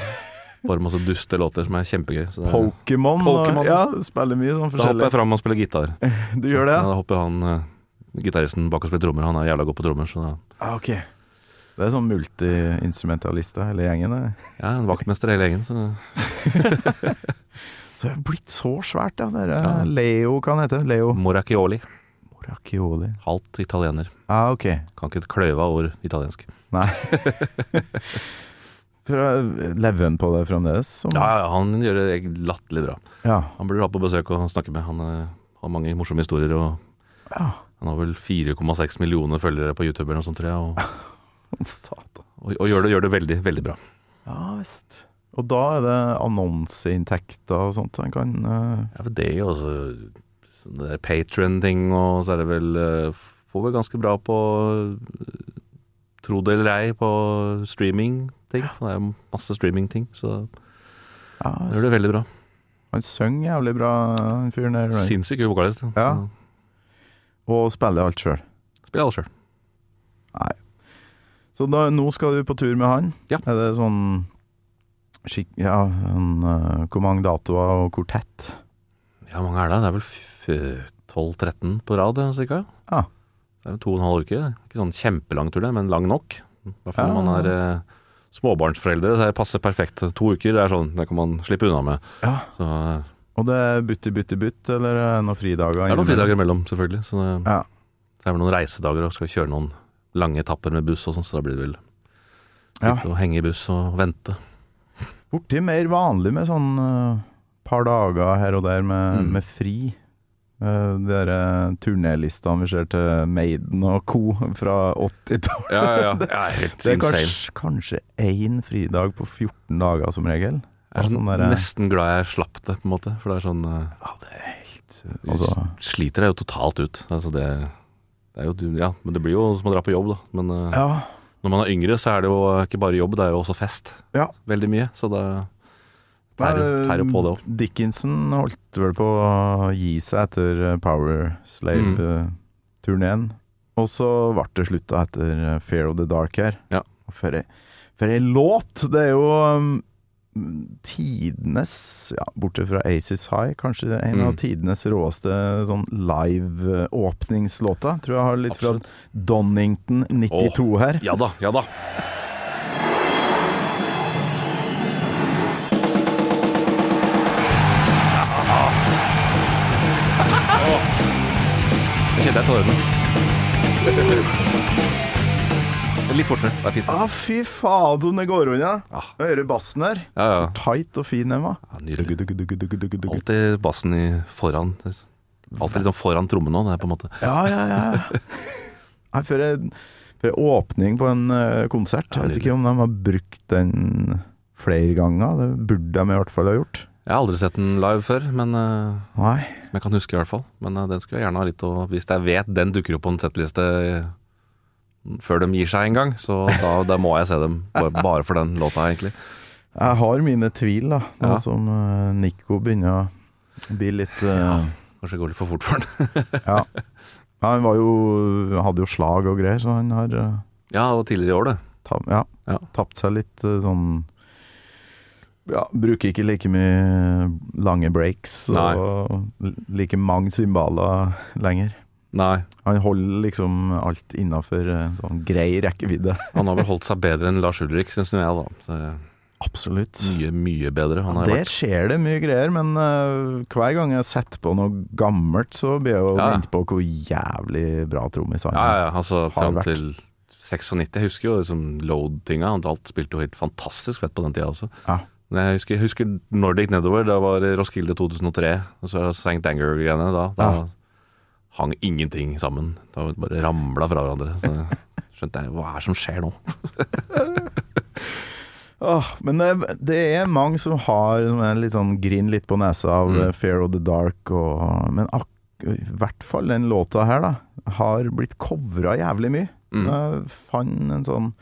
S2: bare masse duste låter som er kjempegøy. Så det,
S3: Pokémon.
S2: Pokémon.
S3: og- Ja, du spiller mye sånn
S2: da hopper jeg
S3: forskjellig.
S2: fram og spiller gitar.
S3: Du gjør det?
S2: Ja,
S3: ja?
S2: da hopper han eh, gitaristen bak og spiller trommer. Han er jævla god på trommer, så da
S3: Ah, ok. Det er sånn multiinstrumentalister, hele gjengen. det.
S2: ja, en vaktmester hele gjengen. Så
S3: Så det er blitt så svært, ja. Det er,
S2: Ja.
S3: Leo, hva han heter Leo
S2: Moracchioli.
S3: Moracchioli.
S2: Halvt italiener.
S3: Ah, ok.
S2: Kan ikke et kløyva ord italiensk.
S3: Nei. Fra- Lever han eh, på det fremdeles? Som,
S2: Ja, ja, han gjør det latterlig bra.
S3: ja.
S2: Han burde ha på besøk og snakke med. Han eh, har mange morsomme historier. og
S3: Ja.
S2: Han har vel 4,6 millioner følgere på YouTube eller noe sånt, tror jeg. Og,
S3: Satan.
S2: og, og gjør, det, gjør det veldig, veldig bra.
S3: Ja visst. Og da er det annonseinntekter og sånt han kan eh,
S2: Ja, for det er jo også sånn der patron-ting, og så er det vel eh, Får vel ganske bra på eh, tro det eller ei på streaming-ting. for Det er jo masse streaming-ting, så
S3: Ja,
S2: det
S3: visst.
S2: gjør det veldig bra.
S3: Han synger jævlig bra, han fyren der. right?
S2: Sinnssykt god vokalist. så
S3: Ja. Og spiller alt sjøl.
S2: Spiller alle sjøl.
S3: Nei. Så da, nå skal du på tur med han?
S2: Ja.
S3: Er det sånn skikk... Ja, en, eh, hvor mange datoer og kortett?
S2: Ja, hvor mange er det? Det er vel f- f- 12-13 på rad, ja, cirka.
S3: Ja.
S2: Det er jo to og en halv uke. Ikke sånn kjempelang tur, det, men lang nok. I hvert fall når
S3: Ja.
S2: man er eh, småbarnsforeldre, så det passer perfekt. To uker det er sånn, det kan man slippe unna med.
S3: Ja.
S2: Så eh,
S3: Og det er bytte, bytte, bytt, eller er det noen fridager?
S2: det er noen
S3: innimellom?
S2: fridager imellom, selvfølgelig. Så det,
S3: Ja.
S2: så er det noen reisedager og skal kjøre noen lange etapper med buss og sånn, så da blir det vel
S3: Ja.
S2: sitte og henge i buss og vente.
S3: Borti mer vanlig med sånn eh, par dager her og der med,
S2: Mm.
S3: med fri. Eh, De der eh, turnélistene vi ser til Maiden og co. fra 80-tallet.
S2: Ja, ja, ja. Det er helt
S3: Det er
S2: insane.
S3: kanskje, kanskje én fridag på 14 dager som regel.
S2: Jeg er sånn,
S3: sånn der-
S2: nesten glad jeg slapp det, på en måte. For det er sånn eh, Du
S3: Altså,
S2: sliter deg jo totalt ut. Altså det, det er jo, du- ja, men det blir jo som å dra på jobb, da. Men eh,
S3: ja,
S2: når man er yngre, så er det jo ikke bare jobb, det er jo også fest.
S3: Ja.
S2: Veldig mye. Så det tærer tærer jo på, det òg.
S3: Dickinson holdt vel på å gi seg etter eh, Power
S2: Mm.
S3: Slave-turneen. Og så ble det slutta etter eh, Fear of the Dark her.
S2: Ja.
S3: Og For ei, for ei låt! Det er jo um, tidenes ja, Bortsett fra Aces High, kanskje en av
S2: Mm.
S3: tidenes råeste sånn live-åpningslåta. Tror jeg har litt
S2: Absolutt.
S3: fra Donington 92 her.
S2: Ja da, ja da. Åh. Jeg kjente jeg tårene. Litt fortere. Det er fint. det.
S3: Ah, fy faen, som det går unna.
S2: Ah.
S3: Hører bassen der.
S2: Ja, ja.
S3: Tight og fin den var.
S2: ja nydelig. Alltid bassen i foran. Alltid liksom foran trommen nå, det er på en måte.
S3: Ja, ja, ja. Nei, for, en- for en åpning på en eh, konsert. Jeg vet ikke om de har brukt den flere ganger. Det burde de i hvert fall ha gjort.
S2: Jeg har aldri sett den live før, men eh,
S3: Nei.
S2: som jeg kan huske i hvert fall. Men eh, den skulle jeg gjerne ha litt å Hvis jeg vet den dukker opp på en settliste eh, før de gir seg en gang, så da, da må jeg se dem. Bare, bare for den låta, egentlig.
S3: Jeg har mine tvil, da. Nå
S2: Ja.
S3: som eh, Nico begynner å bli litt eh,
S2: Kanskje det går litt for fort for den.
S3: ja. ja. Han var jo, hadde jo slag og greier, så han har eh,
S2: ja, det var tidligere i år, det.
S3: ta, ja,
S2: Ja.
S3: tapt seg litt eh, sånn ja, Bruker ikke like mye lange breaks og like mange cymbaler lenger.
S2: Nei.
S3: Han holder liksom alt innafor sånn grei rekkevidde.
S2: Han har vel holdt seg bedre enn Lars Ulrik, syns nå jeg, da. Så eh,
S3: Absolutt.
S2: mye, mye bedre. Han har
S3: Mm. Der
S2: vært
S3: skjer det mye greier, men øh, hver gang jeg setter på noe gammelt, så blir jeg jo
S2: Ja.
S3: minnet på hvor jævlig bra trommis han
S2: Ja,
S3: er.
S2: ja, altså fram
S3: vært.
S2: til 96. Jeg husker jo liksom Load-tinga. Alt spilte jo helt fantastisk fett på den tida også.
S3: Ja.
S2: Men jeg husker, jeg husker når det gikk nedover. Da var det Roskilde 2003. Og så St. Anger-greiene. Da, da
S3: Ja.
S2: hang ingenting sammen. Da bare ramla fra hverandre. Så skjønte jeg hva er det som skjer nå?
S3: Åh, men det, det er mange som har som er litt sånn grin litt på nesa av
S2: Mm.
S3: eh, Fear of the Dark, og, men ak i hvert fall den låta her, da, har blitt covra jævlig mye.
S2: Mm.
S3: Jeg fant en sånn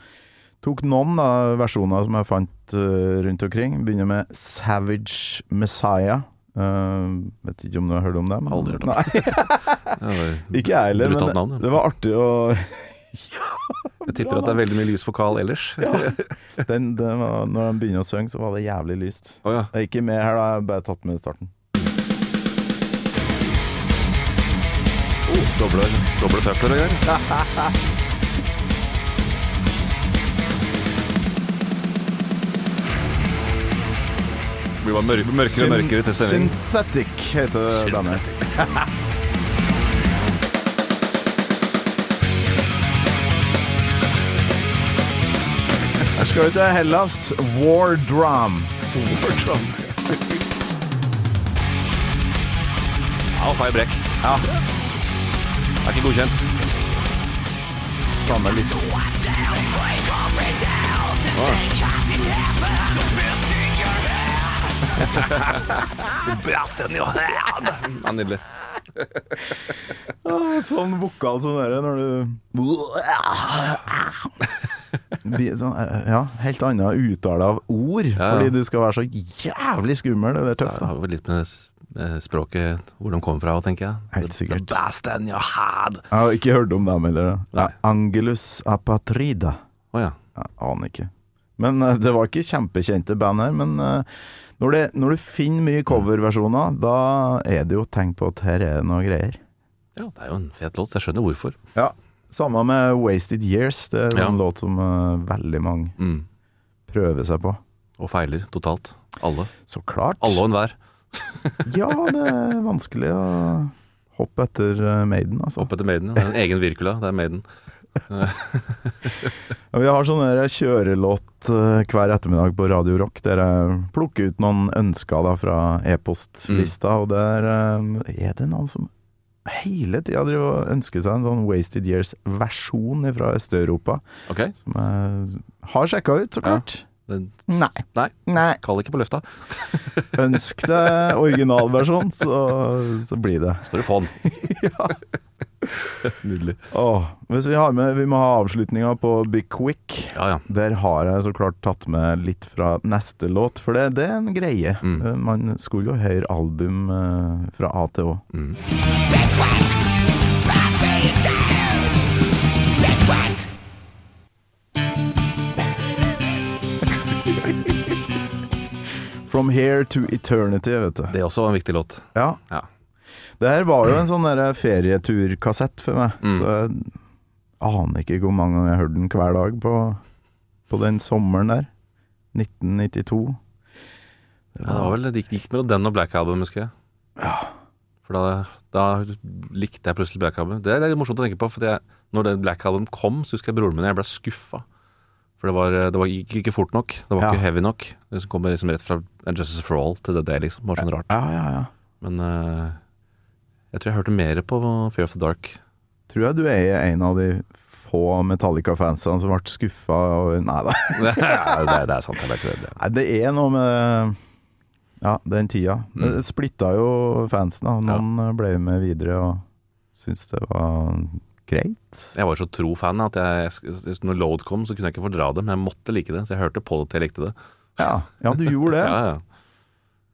S3: Tok noen da, versjoner som jeg fant eh, rundt omkring. Begynner med Savage Messiah. Eh, vet ikke om du har hørt om dem?
S2: Aldri hørt om.
S3: Nei,
S2: Ja, det-
S3: Ikke jeg heller, men
S2: Brutalt navn, ja.
S3: det var artig å
S2: Jeg tipper at det er veldig mye lys for Carl ellers. Å ja.
S3: den, den var, Når de begynner å synge, så var det jævlig lyst. Jeg er ikke med her, da. Jeg har bare tatt med starten.
S2: Doble, doble tøfler og greier. Det blir bare mørk, mørkere og mørkere til stemningen.
S3: Synthetic heter bandet. Her skal vi til Hellas. War Drum.
S2: Ja, feil brekk. Ja. Det er ikke godkjent.
S3: Samme litt.
S2: Ja, nydelig.
S3: Ja, Sånn vokal som dere når du Blir sånn, eh, Ja, helt annen uttale av ord,
S2: Ja.
S3: fordi du skal være så jævlig skummel. Det er tøft.
S2: Det
S3: da.
S2: har vel litt med s- eh, språket, hvor de kommer fra, tenker jeg.
S3: Helt
S2: The-
S3: sikkert.
S2: The best in your head.
S3: Jeg har ikke hørt om dem heller.
S2: Nei.
S3: Nei. Angelus Apatrida.
S2: Å ja.
S3: Jeg aner ikke. Men eh, det var ikke kjempekjente band her. Men eh, når, det, når du finner mye coverversjoner, da er det jo et tegn på at her er det noe greier.
S2: ja. Det er jo en fet låt, så jeg skjønner hvorfor.
S3: Ja, Samme med Wasted Years. Det er en
S2: Ja.
S3: låt som eh, veldig mange
S2: Mm.
S3: prøver seg på.
S2: Og feiler totalt. Alle.
S3: Så klart.
S2: Alle og enhver.
S3: ja, det er vanskelig å hoppe etter eh, Maiden, altså.
S2: Opp etter Maiden. ja. Det er en egen Virkola, det er Maiden.
S3: Ja, vi har sånn der kjørelåt eh, hver ettermiddag på Radio Rock, der jeg plukker ut noen ønsker da, fra e-postlista, og der eh, er det noen som hele tida driver og ønsker seg en sånn Wasted Years-versjon fra Øst-Europa,
S2: Ok?
S3: som jeg har sjekka ut, så
S2: Ja.
S3: klart.
S2: Den-
S3: Nei.
S2: Nei.
S3: Nei.
S2: Kall ikke på løfta.
S3: Ønsk deg originalversjon, så, så blir det.
S2: Skal du få den. Nydelig.
S3: Åh, hvis vi, har med, vi må ha avslutninga på Be Quick.
S2: Ja, ja.
S3: Der har jeg så klart tatt med litt fra neste låt, for det, det er en greie. Eh, Man skulle jo høre album eh, fra A til Å. From here to eternity, vet du.
S2: Det er også en viktig låt.
S3: Ja.
S2: Ja.
S3: Det her var jo en sånn der ferieturkassett for meg, så jeg aner ikke hvor mange ganger jeg hørte den hver dag på, på den sommeren der. 1992.
S2: Ja, det var vel det gikk, gikk mellom den og Black Album, husker jeg. For da Da likte jeg plutselig Black Album. Det er litt morsomt å tenke på, for jeg, når den Black Album kom, så husker jeg broren min og jeg ble skuffa. For det, var, det var, gikk ikke fort nok. Det var
S3: Ja.
S2: ikke heavy nok. Det som kommer liksom rett fra Justice for All til det der, liksom. Det var sånn rart.
S3: Ja, ja, ja.
S2: Men eh, jeg tror jeg hørte mer på Fear of the Dark.
S3: Tror jeg du er en av de få Metallica-fansene som ble skuffa over Nei da.
S2: det, er, det er sant. Det er ikke det.
S3: Nei, det er noe med Ja, den tida. Det splitta jo fansen. da. Noen ble jo med videre og syntes det var greit.
S2: Jeg var så tro fan at jeg, når Load kom, så kunne jeg ikke fordra det, men jeg måtte like det. Så jeg hørte på det til jeg likte det.
S3: Ja, ja du gjorde det.
S2: Ja, ja.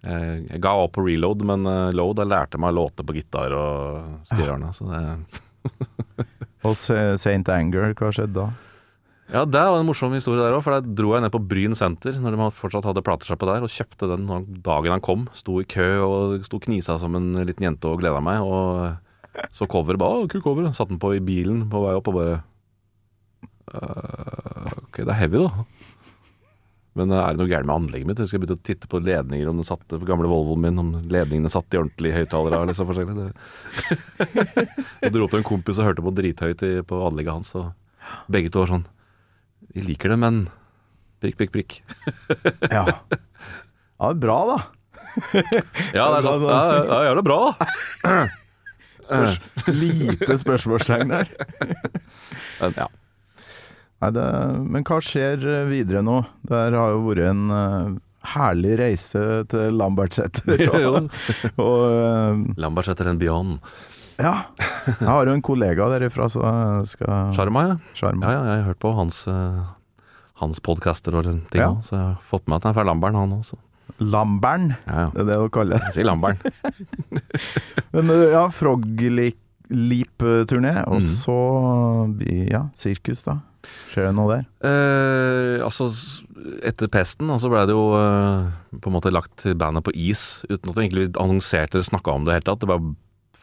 S2: Jeg, jeg ga opp på reload, men eh, load jeg lærte meg låter på gitar og
S3: Ah.
S2: styrerne. Så det
S3: Og Se- Saint Anger, hva skjedde da?
S2: Ja, det var en morsom historie der òg, for der dro jeg ned på Bryn senter når de fortsatt hadde platesjappe der, og kjøpte den når- dagen han kom. Sto i kø og sto og knisa som en liten jente og gleda meg, og så coveret bare Å, kult cover. Satte den på i bilen på vei opp og bare «Øh, Ok, det er heavy, da. Men øh, er det noe gærent med anlegget mitt? Jeg husker jeg begynte å titte på ledninger om den satt på gamle Volvoen min, om ledningene satt i ordentlig høyttalere eller så forskjellig. Det- Og dro opp til en kompis og hørte på drithøyt i- på anlegget hans, og begge to var sånn vi liker det, men prikk, prikk, prikk.
S3: Ja. ja, det er bra, da.
S2: Ja, det er sånn. Ja, ja, ja, gjør det bra, da.
S3: Spørs, lite spørsmålstegn der.
S2: Men, ja.
S3: Nei, det, men hva skjer eh, videre nå? Det her har jo vært en eh, herlig reise til Lambertseter. Og, og eh,
S2: Lambertseter and Beyond.
S3: ja, jeg har jo en kollega derifra som jeg skal
S2: Sjarma, ja.
S3: sjarme.
S2: Ja, ja, jeg har hørt på hans, eh, hans podkaster og ting
S3: Ja.
S2: òg, så jeg har fått med at han er fra Lambern, han også.
S3: Lambern,
S2: Ja, ja.
S3: det er det å kalle det.
S2: Si Lambern.
S3: Men eh, ja, Frog-leap-turné, og
S2: Mhm.
S3: så blir- ja, sirkus, da. Skjer det noe der?
S2: Eh, altså, s- etter pesten altså ble det jo eh, på en måte lagt bandet på is, uten at vi egentlig annonserte eller snakka om det i det hele tatt. Det bare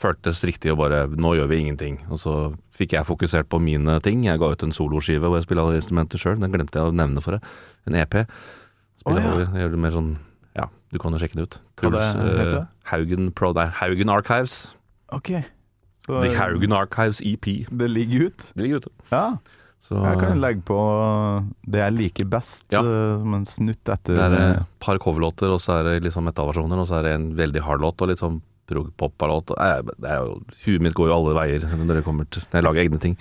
S2: føltes riktig å bare Nå gjør vi ingenting. Og så fikk jeg fokusert på mine ting. Jeg ga ut en soloskive hvor jeg spiller alle instrumenter sjøl. Den glemte jeg å nevne for deg. En EP. Spiller
S3: Å, ja.
S2: alle- jeg gjør det mer sånn Ja, du kan jo sjekke det ut.
S3: Hva
S2: Truls
S3: det heter?
S2: eh, Haugen Pro Nei, Haugen Archives.
S3: Ok. Så,
S2: The
S3: eh,
S2: Haugen Archives EP.
S3: Det ligger ut.
S2: Det ligger ute.
S3: Ja,
S2: Så
S3: jeg kan legge på det jeg liker best,
S2: Ja.
S3: eh, som en snutt etter eh,
S2: Det er eh, et par coverlåter, og så er det liksom metallversjoner, og så er det en veldig hard låt, og litt sånn prog-pop-låt. Huet mitt går jo alle veier når, det kommer til, når jeg lager egne ting.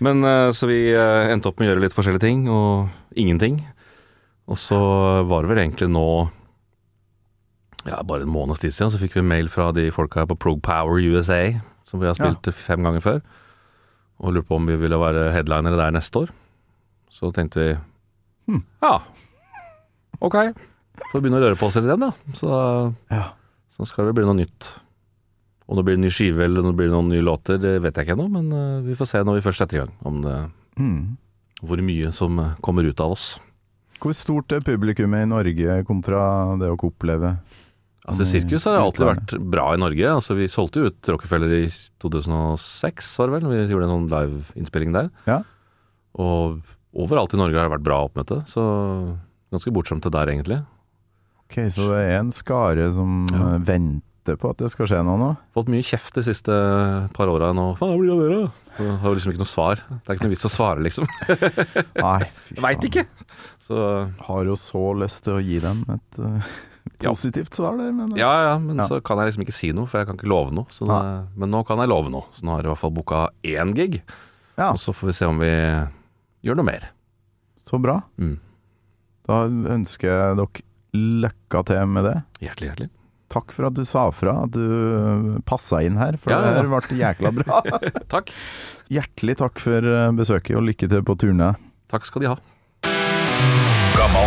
S2: Men eh, Så vi eh, endte opp med å gjøre litt forskjellige ting, og ingenting. Og så var det vel egentlig nå ja, bare en måneds tid siden, så fikk vi mail fra de folka på Prog Power USA, som vi har spilt fem ganger før, og lurte på om vi ville være headlinere der neste år. Så tenkte vi ja, ok. Får begynne å røre på oss litt igjen, da. Så,
S3: Ja.
S2: så skal det bli noe nytt. Om det blir en ny skive eller om det blir noen nye låter, det vet jeg ikke ennå, men eh, vi får se når vi først setter i gang, om det,
S3: Mm.
S2: hvor mye som eh, kommer ut av oss.
S3: Hvor stort er publikummet i Norge kontra det å oppleve?
S2: Altså Sirkus har alltid vært bra i Norge. Altså Vi solgte jo ut Rockefeller i 2006, var det vel? Vi gjorde en sånn liveinnspilling der.
S3: Ja.
S2: Og overalt i Norge har det vært bra oppmøte, så ganske bortskjemte der, egentlig.
S3: Ok, Så det er en skare som
S2: Ja.
S3: eh, venter på at det skal skje noe nå?
S2: Fått mye kjeft de siste par åra nå. Faen, hva blir det av dere? da? Så Har jo liksom ikke noe svar. Det er ikke noe vits å svare, liksom.
S3: Nei, fy faen.
S2: Så
S3: Har jo så lyst til å gi dem et eh,
S2: Ja.
S3: positivt svar der, men eh,
S2: ja, ja, men
S3: Ja.
S2: så kan jeg liksom ikke si noe, for jeg kan ikke love noe. Så det, men nå kan jeg love noe. Så nå har jeg i hvert fall booka én gig,
S3: Ja.
S2: og så får vi se om vi gjør noe mer.
S3: så bra.
S2: Mm.
S3: Da ønsker jeg dere lykke til med det.
S2: Hjertelig, hjertelig.
S3: Takk for at du sa fra, at du passa inn her, for
S2: Ja, ja, ja.
S3: det her ble jækla bra.
S2: Takk.
S3: Hjertelig takk for eh, besøket, og lykke til på turné.
S2: Takk skal de ha.
S7: Gammal